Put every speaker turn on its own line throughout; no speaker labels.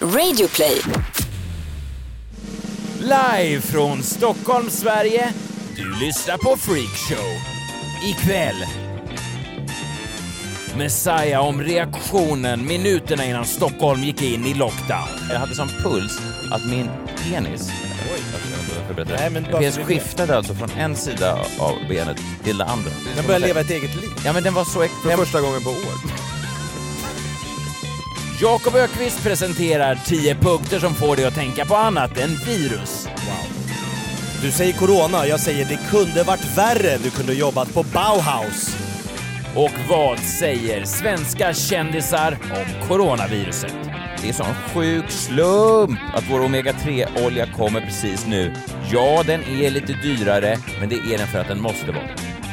Radioplay.
Live från Stockholm, Sverige. Du lyssnar på Freakshow. Ikväll. Messiah om reaktionen minuterna innan Stockholm gick in i lockdown.
Jag hade som puls att min penis, Jag ska inte förbättra det.
Nej, men
Min
bara
penis
så vi vet.
skiftade alltså från en sida av benet till det andra.
Den börjar leva ett eget liv.
Ja men den var så äck...
För första gången på år.
Jakob Ökvist presenterar 10 punkter som får dig att tänka på annat än virus.
Du säger corona, jag säger det kunde varit värre. Du kunde jobbat på Bauhaus.
Och vad säger svenska kändisar om coronaviruset?
Det är sån sjuk slump att vår omega-3-olja kommer precis nu. Ja, den är lite dyrare, men det är den för att den måste vara.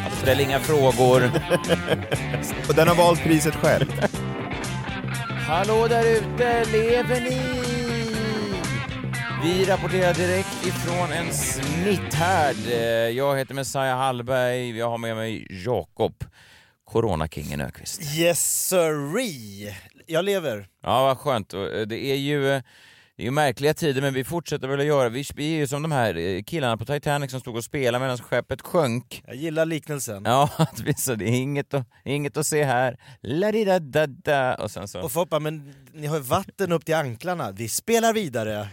Alltså, ställ inga frågor.
Och den har valt priset själv.
Hallå där ute, lever ni? Vi rapporterar direkt ifrån en smitthärd. Eh, Jag heter Messiah Hallberg, jag har med mig Jakob, coronakingen Öqvist.
Yes sirree. Jag lever.
Ja, vad skönt. Och, eh, Det är ju... eh, Det är ju märkliga tider men vi fortsätter väl att göra, vi, vi är ju som de här eh, killarna på Titanic som stod och spelade medan skeppet sjönk.
Jag gillar liknelsen.
Ja, att vi, så det är inget att, inget att se här. La di da da da och sen så...
Och folk bara, men ni har ju vatten upp till anklarna. Vi spelar vidare.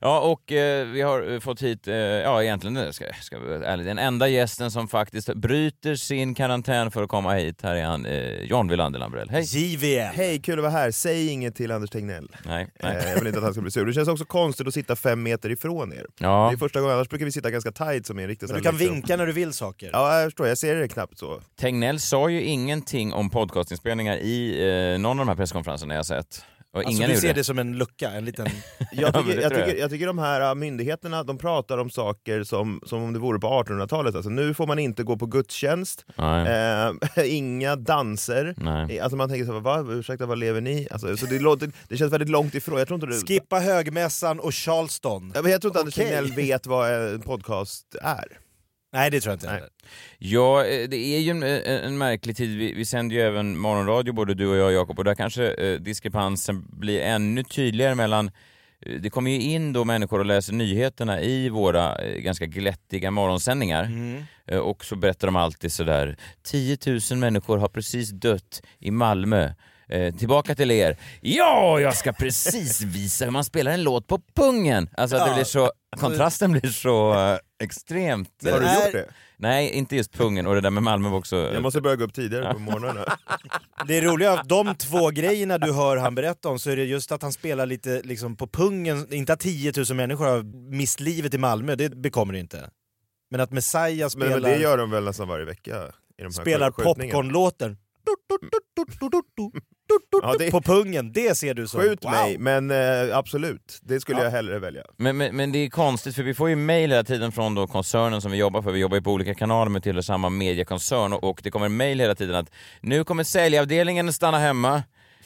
Ja, och eh, vi har eh, fått hit, eh, ja egentligen eh, ska, ska vi vara ärlig, den enda gästen som faktiskt bryter sin karantän för att komma hit. Här är han, eh, John Wilander Lambrell. Hej!
JVM.
Hej, kul att vara här. Säg inget till Anders Tegnell.
Nej,
Eh,
nej.
Jag vill inte att han ska bli sur. Det känns också konstigt att sitta fem meter ifrån er.
Ja.
Det är första gången, annars brukar vi sitta ganska tight som i en riktig
Men
sån
du
här
kan
lektion.
vinka när du vill saker.
Ja, jag förstår. Jag ser det knappt så.
Tegnell sa ju ingenting om podcastinspelningar i eh, någon av de här presskonferenserna jag sett. Och
alltså,
ingen
du
gjorde
ser det som en lucka, en liten...
Jag
men
tycker,
det
jag
tror jag.
tycker, jag tycker de här äh, myndigheterna de pratar om saker som, som om det vore på 1800-talet. Alltså, nu får man inte gå på gudstjänst,
Nej.
eh, inga danser.
Nej.
Eh, Alltså man tänker såhär, va? Ursäkta, vad lever ni? Alltså, så det, låter, det känns väldigt långt ifrån. Jag tror inte du...
Skippa högmässan och charleston.
Ja, men jag tror inte Anders
Okej.
Tegnell vet vad en podcast är.
Nej, det tror jag inte heller.
Ja, eh, det är ju en, eh, en märklig tid. Vi, vi sänder ju även morgonradio, både du och jag, Jakob, och där kanske eh, diskrepansen blir ännu tydligare mellan... eh, Det kommer ju in då människor och läser nyheterna i våra eh, ganska glättiga morgonsändningar. Eh, Och så berättar de alltid sådär, 10 000 människor har precis dött i Malmö. Eh, tillbaka till er. Ja, jag ska precis visa hur man spelar en låt på pungen! Alltså att det
Ja.
blir så, kontrasten blir så eh, extremt.
Har
är-
du gjort det?
Nej, inte just pungen. Och det där med Malmö var också...
Jag måste börja gå upp tidigare på morgonen.
Det roliga är att de två grejerna du hör han berätta om så är det just att han spelar lite liksom, på pungen, inte att 10 000 människor har mist livet i Malmö, det bekommer det inte. Men att Messiah
Men,
spelar,
men det gör de väl nästan varje vecka? I de här
spelar
skjut- skjutningarna.
popcornlåten
Ja, det-
på pungen, det ser du som
Skjut
wow.
mig, men eh, absolut. Det skulle
Ja.
jag hellre välja.
Men, men, men det är konstigt för vi får ju mejl hela tiden från då koncernen som vi jobbar för. Vi jobbar ju på olika kanaler men tillhör samma mediekoncern och, och det kommer mejl hela tiden att nu kommer säljavdelningen att stanna hemma.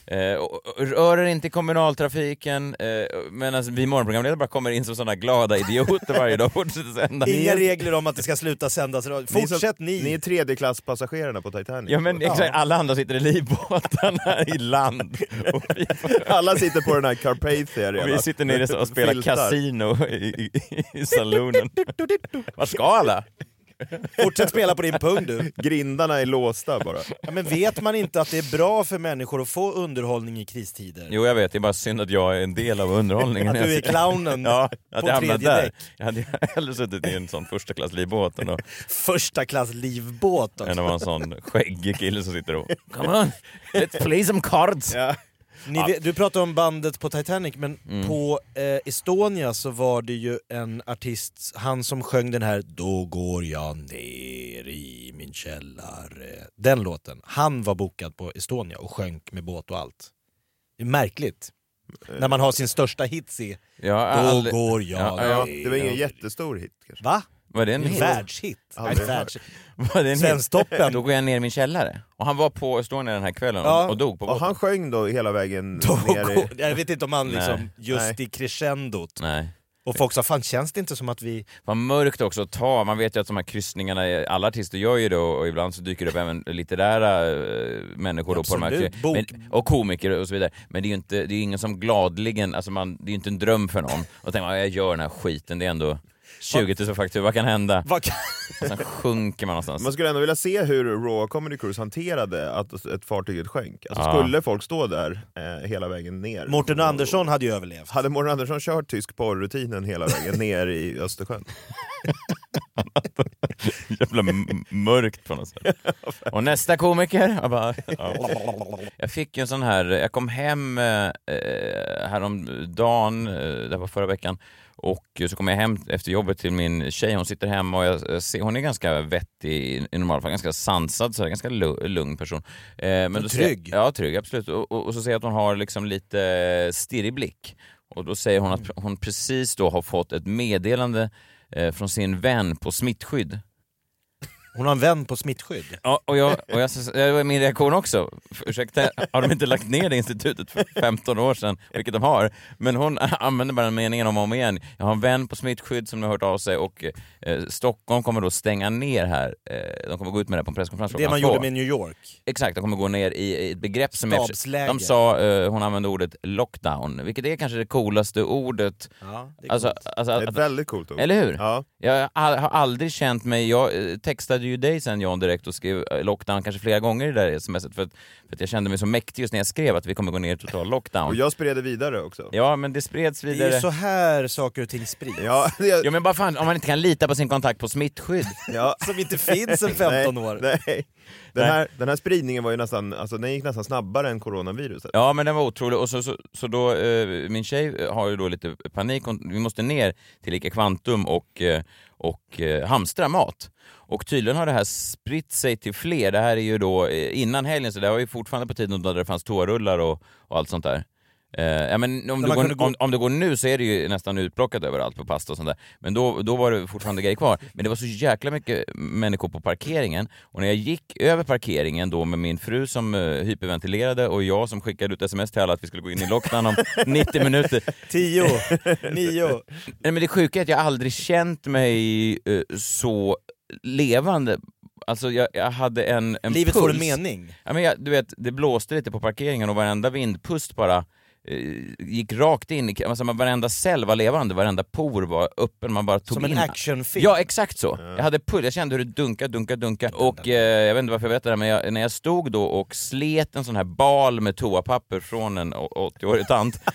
Eh, och, och, rör er inte i kommunaltrafiken. Eh, men alltså, vi morgonprogramledare bara kommer in som sådana glada idioter varje dag och fortsätter sända.
Inga regler om att det ska sluta sändas radio.
Ni är som-
Fortsätt ni!
Ni är tredjeklasspassagerarna på Titanic.
Ja men exakt, alla andra sitter i livbåtarna i land. Och vi,
Alla sitter på den här Carpathia
och
redan.
vi sitter nere och spelar
Filtar.
kasino i, i, i saloonen. Var ska alla?
Fortsätt spela på din pung du!
Grindarna är låsta bara.
Ja, men vet man inte att det är bra för människor att få underhållning i kristider?
Jo, jag vet. Det är bara synd att jag är en del av underhållningen.
Att du är clownen
ja, att
på
jag hamnade
tredje
där.
däck.
Jag hade hellre suttit i en sån första klass livbåt än att
Första klass livbåt också.
än att vara en sån skäggig kille som sitter och Come on, let's play some cards.
Ja.
Ni vet, du pratade om bandet på Titanic, men
Mm.
på eh, Estonia så var det ju en artist, han som sjöng den här Då går jag ner i min källare. Den låten. Han var bokad på Estonia och sjönk med båt och allt. Det är märkligt. När man har sin största hit se
Jag har Eh.
Då
aldrig-
går jag
Ja, ja.
Ja, det var ingen jättestor hit kanske.
Va?
Var det en
En
hit?
världshit.
Aldrig
Nej,
hört.
världshit.
Var det en hit?
Svensktoppen.
Då går jag ner i min källare. Och han var på Estonia den här kvällen och-
Ja.
och dog på båten.
Och han sjöng då hela vägen
Då
ner i...
går, jag vet inte om han liksom,
Nej.
just i
Nej.
crescendot.
Nej.
Och folk sa, fan känns det inte som att vi...
Vad mörkt också att ta. Man vet ju att de här kryssningarna, är- alla artister gör ju det och och ibland så dyker det upp även litterära eh, människor då på de här
Absolut,
kry-
bok.
men, Och komiker och så vidare. Men det är ju inte, det är ju ingen som gladligen, alltså man, det är ju inte en dröm för någon. Och tänker man, jag gör den här skiten, det är ändå 20 000 fakturor, vad kan hända?
Vad kan...
Och sen sjunker man någonstans.
Man skulle ändå vilja se hur Raw Comedy Cruise hanterade att ett fartyget sjönk. Alltså,
Ja.
Skulle folk stå där eh, hela vägen ner?
Mårten Andersson hade ju överlevt.
Hade Mårten Andersson kört tysk porrrutinen hela vägen ner i Östersjön?
Jävla m- mörkt på något sätt. Och nästa komiker, jag bara... Ja. Jag fick ju en sån här, jag kom hem eh, eh, häromdagen, eh, det var förra veckan, och så kom jag hem efter jobbet till min tjej, hon sitter hemma och jag, jag ser, hon är ganska vettig i- i normala fall, ganska sansad, så här, ganska lu- lugn person. Eh, men då ser-
trygg.
ja, trygg, absolut. Och, och, och så ser jag att hon har liksom lite stirrig blick. Och då säger hon att hon precis då har fått ett meddelande eh, från sin vän på smittskydd.
Hon har en vän på smittskydd.
Ja, och jag, och jag, det var min reaktion också. För- Ursäkta, har de inte lagt ner det institutet för 15 år sedan? Vilket de har. Men hon använder bara den meningen om och om igen. Jag har en vän på smittskydd som nu har hört av sig och eh, Stockholm kommer då stänga ner här. Eh, de kommer gå ut med det här på en presskonferens
Det
klockan
man
två.
gjorde med New York.
Exakt, de kommer gå ner i, i ett begrepp som
Stabsläge.
är... De sa, eh, hon använde ordet lockdown, vilket är kanske det coolaste ordet.
Ja, det är
Alltså,
coolt.
alltså,
Det är
att,
ett väldigt coolt ord.
eller hur?
Ja.
Jag har har aldrig känt mig... Jag eh, textade ju dig sen John direkt och skrev eh, lockdown kanske flera gånger i det där smset för att, för att jag kände mig så mäktig just när jag skrev att vi kommer gå ner i total
Och
lockdown.
jag spred det vidare också.
Ja, men det spreds
det är ju
vidare.
så här saker och ting sprids.
Ja, det,
Ja men bara fan, om man inte kan lita på sin kontakt på smittskydd.
ja.
Som inte finns sedan 15
nej,
år.
Nej. Den, Här, den här spridningen var ju nästan, alltså, den gick nästan snabbare än coronaviruset.
Ja men den var otrolig och så, så, så då, eh, min tjej har ju då lite panik, Hon, vi måste ner till Ica Kvantum och, eh, och eh, hamstra mat. Och tydligen har det här spritt sig till fler, det här är ju då eh, innan helgen så det var ju fortfarande på tiden då det fanns toarullar och, och allt sånt där. Eh, ja, men om,
man
du går,
kunde gå-
om, om det går nu så är det ju nästan utplockat överallt på pasta och sånt där. Men då, då var det fortfarande grejer kvar. Men det var så jäkla mycket människor på parkeringen. Och när jag gick över parkeringen då med min fru som eh, hyperventilerade och jag som skickade ut sms till alla att vi skulle gå in i lockdown om 90 minuter.
10, 9.
Nej, men det sjuka är att jag aldrig känt mig eh, så levande. Alltså jag, jag hade en, en
Livet
puls.
får en mening.
Ja, men jag, du vet, det blåste lite på parkeringen och varenda vindpust bara eh, gick rakt in i... Alltså, man- varenda cell var levande, varenda por var öppen, man bara tog
Som
in...
en actionfilm.
Ja, exakt så. Jag hade pull, jag kände hur det dunkade, dunkade, dunkade. Och eh, jag vet inte varför jag vet det här, men jag, när jag stod då och slet en sån här bal med toapapper från en å- 80-årig tant.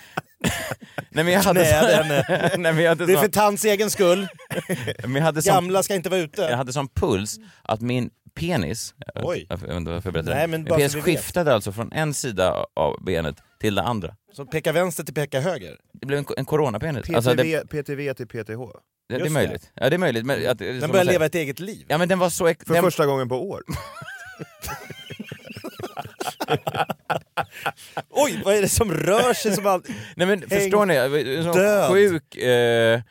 Nej men jag hade
Knäade
sån-
henne.
Nej men jag hade
Det är för
sån-
tants egen skull.
men jag hade sån
Gamla ska inte vara ute.
jag hade sån puls att min penis, jag vet-
Oj.
jag vet inte varför jag berättar
Nej,
det.
men
Min
bara
penis
så vi vet.
skiftade alltså från en sida av benet till det andra.
Så peka vänster till peka höger.
Det blev en, en coronapenis.
PTV,
Alltså det, det,
PTV till PTH.
det är
just
möjligt. Ja, det är möjligt. Men att,
Den börjar leva ett eget liv.
Ja men den var så... Ek-
För
den,
första gången på år.
Oj, vad är det som rör sig som allt?
Nej men förstår ni? Jag var- en Sån
död.
sjuk... Eh,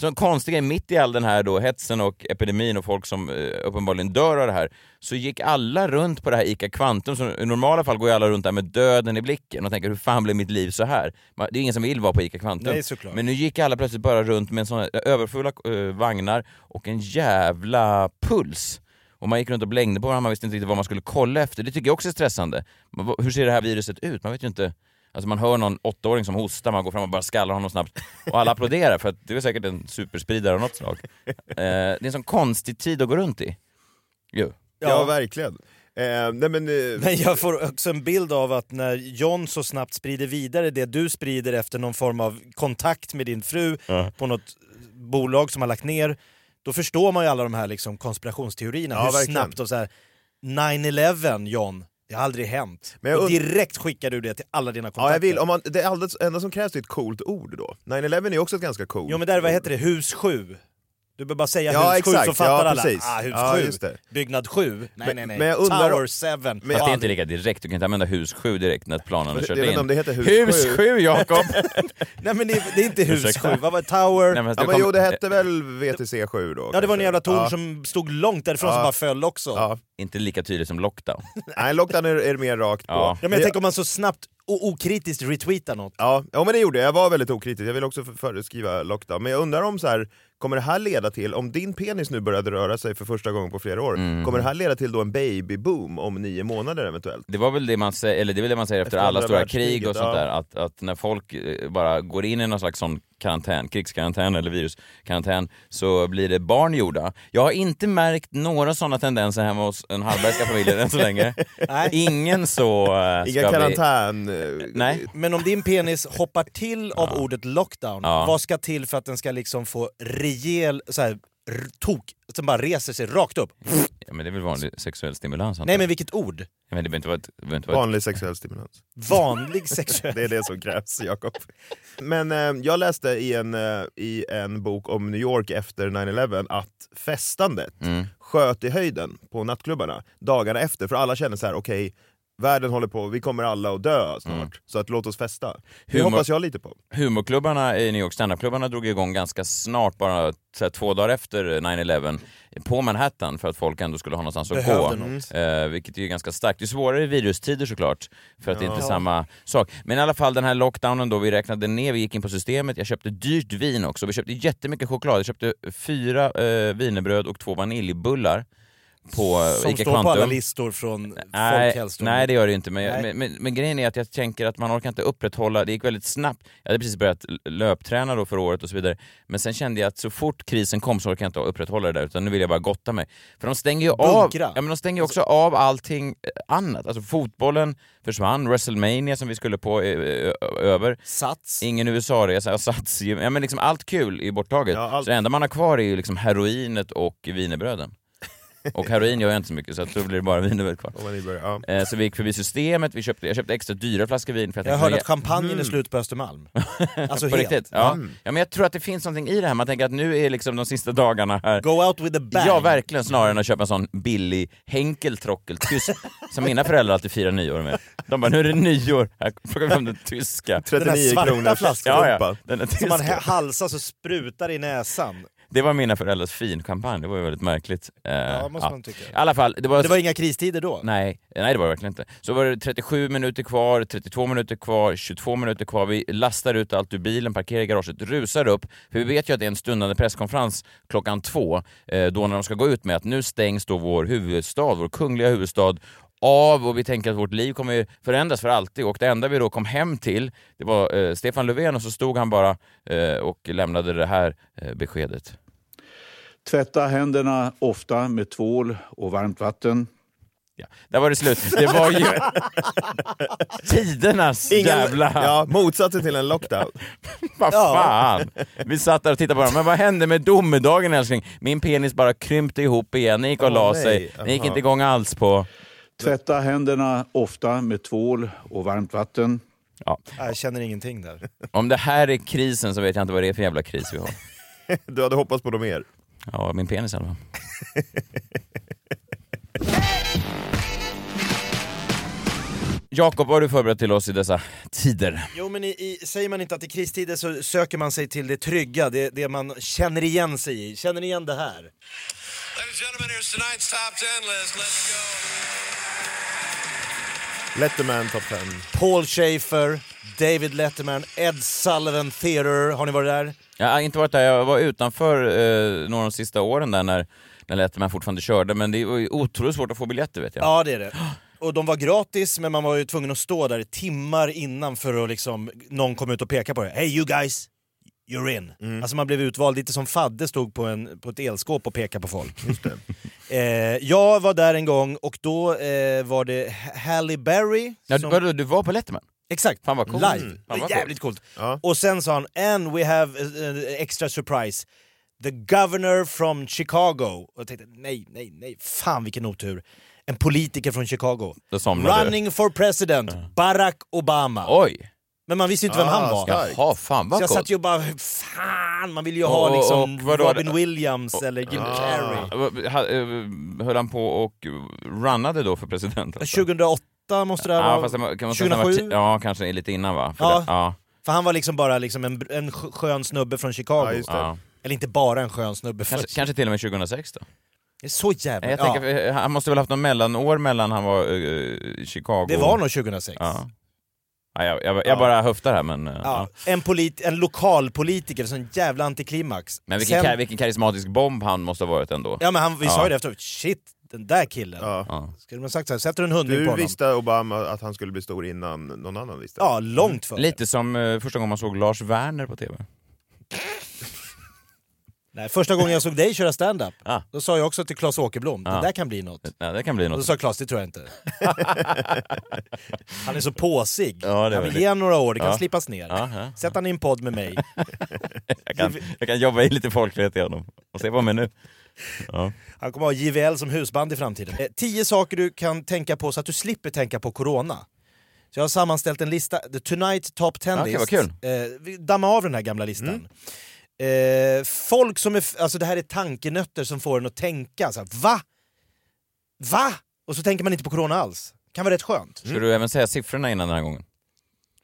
sån konstig grej, mitt i all den här då hetsen och epidemin och folk som eh, uppenbarligen dör av det här, så gick alla runt på det här ICA Kvantum, som i normala fall går ju alla runt där med döden i blicken och tänker hur fan blev mitt liv så här? Man- Det är ingen som vill vara på ICA Kvantum.
Nej, såklart.
Men nu gick alla plötsligt bara runt med en sån här överfulla eh, vagnar och en jävla puls. Och man gick runt och blängde på varandra, man visste inte riktigt vad man skulle kolla efter. Det tycker jag också är stressande. Man, vad- hur ser det här viruset ut? Man vet ju inte. Alltså man hör någon åttaåring som hostar, man går fram och bara skallar honom snabbt. Och alla applåderar för att det är säkert en superspridare av något slag. Eh, det är en sån konstig tid att gå runt i. Jo.
Ja, verkligen. Eh, nej men, eh,
Men jag får också en bild av att när John så snabbt sprider vidare det du sprider efter någon form av kontakt med din fru på något bolag som har lagt ner, då förstår man ju alla de här liksom konspirationsteorierna.
Ja,
hur
verkligen.
snabbt de så här 9-11 John, det har aldrig hänt.
Men jag
och
und-
direkt skickar du det till alla dina kontakter.
ja, jag vill, om man, det är alldeles, enda som krävs är ett coolt ord då. 9-11 är också ett ganska coolt
Jo men där, vad heter det, hus 7? Du behöver bara säga
Ja,
hus 7 så
exakt.
fattar
Ja,
alla.
precis.
Ah, hus
Ja,
7.
just det.
Byggnad 7. Nej,
Men-
nej, nej.
men jag undrar-
Tower 7.
Men-
Fast det är inte lika direkt, du kan inte använda hus 7 direkt när planen har
Jag
kört
vet
in.
inte om det heter hus
hus
sju.
7 Jakob!
Nej men det, det är inte hus
Ursäkta.
7, vad var Alltså, det? Tower?
Nej, men alltså,
Ja,
du
men
kom-
jo, det hette väl VTC 7 då?
Ja det var en
kanske.
jävla torn
Ja.
som stod långt därifrån som
Ja.
bara föll också. Ja.
Ja.
Eh, Inte lika tydligt som lockdown.
Nej, lockdown är, är mer rakt på.
Ja.
men jag tänker om man så snabbt o- okritiskt retweeta något.
Ja, ja men det gjorde jag. Jag var väldigt okritisk. Jag vill också f- föreskriva lockdown. Men jag undrar om så här, kommer det här leda till, om din penis nu började röra sig för första gången på flera år,
Mm.
kommer det här leda till då en babyboom om nio månader eventuellt?
Det var väl det man säger, eller det är väl det man säger efter,
Efter
alla
andra
stora
världskriget,
krig och sånt
ja.
där, att, att när folk eh, bara går in i någon slags sån karantän, krigskarantän eller viruskarantän, så blir det barn gjorda. Jag har inte märkt några sådana tendenser hemma hos den Hallbergska familjen än så länge.
Nej.
Ingen så... eh, ska
Inga
bli-
karantän... eh,
Nej.
Men om din penis hoppar till av ordet lockdown,
Ja.
vad ska till för att den ska liksom få rejäl så här, r- tok? Att den bara reser sig rakt upp.
Ja, men det är väl vanlig sexuell stimulans antar
Nej
jag.
men vilket ord!
Men det behöver inte vara ett... det behöver inte vara ett-
Vanlig sexuell stimulans.
Vanlig sexuell...
Det är det som krävs, Jakob. Men eh, jag läste i en, eh, i en bok om New York efter 9-11 att festandet
Mm.
sköt i höjden på nattklubbarna dagarna efter, för alla kände så här: okej, världen håller på, vi kommer alla att dö snart,
Mm.
så att låt oss festa. Det
Humor-
hoppas jag lite på.
Humorklubbarna i New York, standupklubbarna drog igång ganska snart, bara så här, två dagar efter 9-11, på Manhattan för att folk ändå skulle ha någonstans att
Behövde
gå.
något.
Eh, vilket är ju ganska starkt. Det är svårare i virustider såklart, för att det är inte samma sak. Men i alla fall den här lockdownen då, vi räknade ner, vi gick in på systemet, jag köpte dyrt vin också. Vi köpte jättemycket choklad. Jag köpte fyra eh, wienerbröd och två vaniljbullar på eh,
Som
Ica
står på alla
Kvantum.
listor från
Nej,
Folkhälsoinstitutet.
nej det gör det ju inte, men, jag,
Nej.
men, men, men grejen är att jag tänker att man orkar inte upprätthålla, det gick väldigt snabbt. Jag hade precis börjat l- löpträna då för året och så vidare, men sen kände jag att så fort krisen kom så orkar jag inte upprätthålla det där utan nu vill jag bara gotta mig. För de stänger ju av,
Bunkra.
ja, men de stänger ju också av allting eh, annat. Alltså fotbollen försvann, WrestleMania som vi skulle på eh, ö- över,
Sats.
ingen USA-resa, jag sats, ju- ja men liksom allt kul är ju borttaget.
Ja, allt.
Så det enda man har kvar är ju liksom heroinet och wienerbröden. Och heroin gör jag inte så mycket så att då blir det bara wienerbröd kvar.
Om man vill börja, ja.
Eh, Så vi gick förbi systemet, vi köpte, jag köpte extra dyra flaskor vin för att
Jag hörde att
tänkte-
champagnen är slut på Östermalm. Alltså
Mm. på
helt.
riktigt. Ja. ja, men jag tror att det finns någonting i det här. Man tänker att nu är liksom de sista dagarna här.
Go out with a bang.
Ja, verkligen. Snarare än att köpa en sån billig henkeltrockel tysk som mina föräldrar alltid firar nyår med. De bara, nu är det nyår. Här plockar vi fram den tyska.
Den där
39
svarta
kronors
flaskan.
strumpa.
Ja, ja. Den är
Som man hä-
tyska.
halsar så sprutar det i näsan.
Det var mina föräldrars finkampanj. Det var ju väldigt märkligt. Eh,
Ja, måste man tycka.
I alla fall, det var,
Det var inga kristider då.
Alltså, Nej, nej det var det verkligen inte. Så var det 37 minuter kvar, 32 minuter kvar, 22 minuter kvar. Vi lastar ut allt ur bilen, parkerar i garaget, rusar upp. För vi vet ju att det är en stundande presskonferens klockan två, eh, då när de ska gå ut med att nu stängs då vår huvudstad, vår kungliga huvudstad av och vi tänker att vårt liv kommer ju förändras för alltid och det enda vi då kom hem till det var eh, Stefan Löfven och så stod han bara eh, och lämnade det här eh, beskedet.
Tvätta händerna ofta med tvål och varmt vatten.
Ja. Där var det slut. Det var ju tidernas jävla...
Ja, motsatsen till en lockdown.
Vad
Ja.
fan! Vi satt där och tittade på dem. Men vad hände med domedagen älskling? Min penis bara krympte ihop igen. Den gick och
Åh,
la
nej.
sig. Den gick
Jaha.
inte igång alls på...
Tvätta händerna ofta med tvål och varmt vatten.
Jag känner ingenting där.
Om det här är krisen så vet jag inte vad det är för jävla kris vi har.
Du hade hoppats på något mer.
Ja, min penis i alla fall. Jakob, vad har du förberett till oss i dessa tider?
Jo men i, i, säger man inte att i kristider så söker man sig till det trygga, det, det man känner igen sig i. Känner ni igen det här?
Ladies and gentlemen, here's tonight's top 10 list. Let's go.
Letterman top 10.
Paul Schaefer, David Letterman, Ed Sullivan Theater. Har ni varit där?
Jag har inte varit där, jag var utanför eh, några av de sista åren där när, när Letterman fortfarande körde, men det var ju otroligt svårt att få biljetter vet jag.
Ja det är det. Och de var gratis men man var ju tvungen att stå där i timmar innan för att liksom, någon kom ut och peka på det. Hey you guys! You're in. Alltså man blev utvald lite som Fadde stod på, en, på ett elskåp och pekade på folk. eh, jag var där en gång och då eh, var det Ha- Halle Berry
Ja,
som-
du, vadå, du var på Letterman?
Exakt,
Fan vad coolt.
live.
Mm.
Det
Fan
var
vad
jävligt coolt.
Ja.
Och sen sa han, and we have eh, extra surprise. The governor from Chicago. Och jag tänkte, nej, nej, nej, fan vilken otur. En politiker från Chicago.
Då somnade du.
Running for president, Barack Obama.
Oj!
Men man visste ju inte vem
Ah,
han var.
starkt.
Jaha, fan
Så
vad
jag
coolt.
satt ju och bara, fan, man vill ju
Och-
ha
och-
liksom
och vadå?
Robin Williams eller Jim
Ah.
Carrey.
Ha- eh, Höll han på och runnade då för president? alltså?
2008 måste det ha
Ja,
varit.
fast det var- kan man säga att han var
2007?
ti- ja, kanske lite innan va? För
Ja.
det- ja.
För han var liksom bara liksom en, en sk- skön snubbe från
Ja,
Chicago.
just det.
ja.
Eller inte bara en skön snubbe. För...
Kanske, kanske till och med 2006 då?
Det är så jävla...
Nej, Jag
ja.
tänker, eh, Han måste väl haft något mellanår mellan han var eh, i Chicago...
Det var nog 2006.
Ja. Ja, jag jag, jag bara höftar här men... eh,
Ja,
Ja.
en, polit, en lokalpolitiker, sån jävla antiklimax.
Men vilken,
Sen-
ka- vilken karismatisk bomb han måste ha varit ändå.
Ja men han, vi sa
Ja.
ju det efteråt, shit den där killen.
Ja.
Ja.
Skulle man sagt så här, sätter du en hundring på
Du
honom?
visste Obama att han skulle bli stor innan någon annan visste?
Ja, långt före.
Lite som eh, första gången man såg Lars Werner på TV.
Nej, första gången jag såg dig köra stand-up,
Ah.
då sa jag också till Claes Åkerblom, det
Ah.
där kan bli något.
Ja, det kan bli
Och då
något.
sa Claes, det tror jag inte. han är så påsig.
Ja, det är
han vill
väldigt-
ge han några år, det kan
Ja.
slipas ner.
Ja, ja.
Sätt han i en podd med mig.
Jag, kan, jag kan jobba i lite folklighet i honom. Och se på mig nu. Ja.
Han kommer ha JVL som husband i framtiden. Eh, tio saker du kan tänka på så att du slipper tänka på corona. Så jag har sammanställt en lista, The Tonight Top 10
Ja, okej,
List.
vad kul.
Eh, vi dammar av den här gamla listan. Eh, folk som är, f- alltså det här är tankenötter som får en att tänka så här, va? Va? Och så tänker man inte på corona alls. Kan vara rätt skönt.
Ska du även säga siffrorna innan den här gången?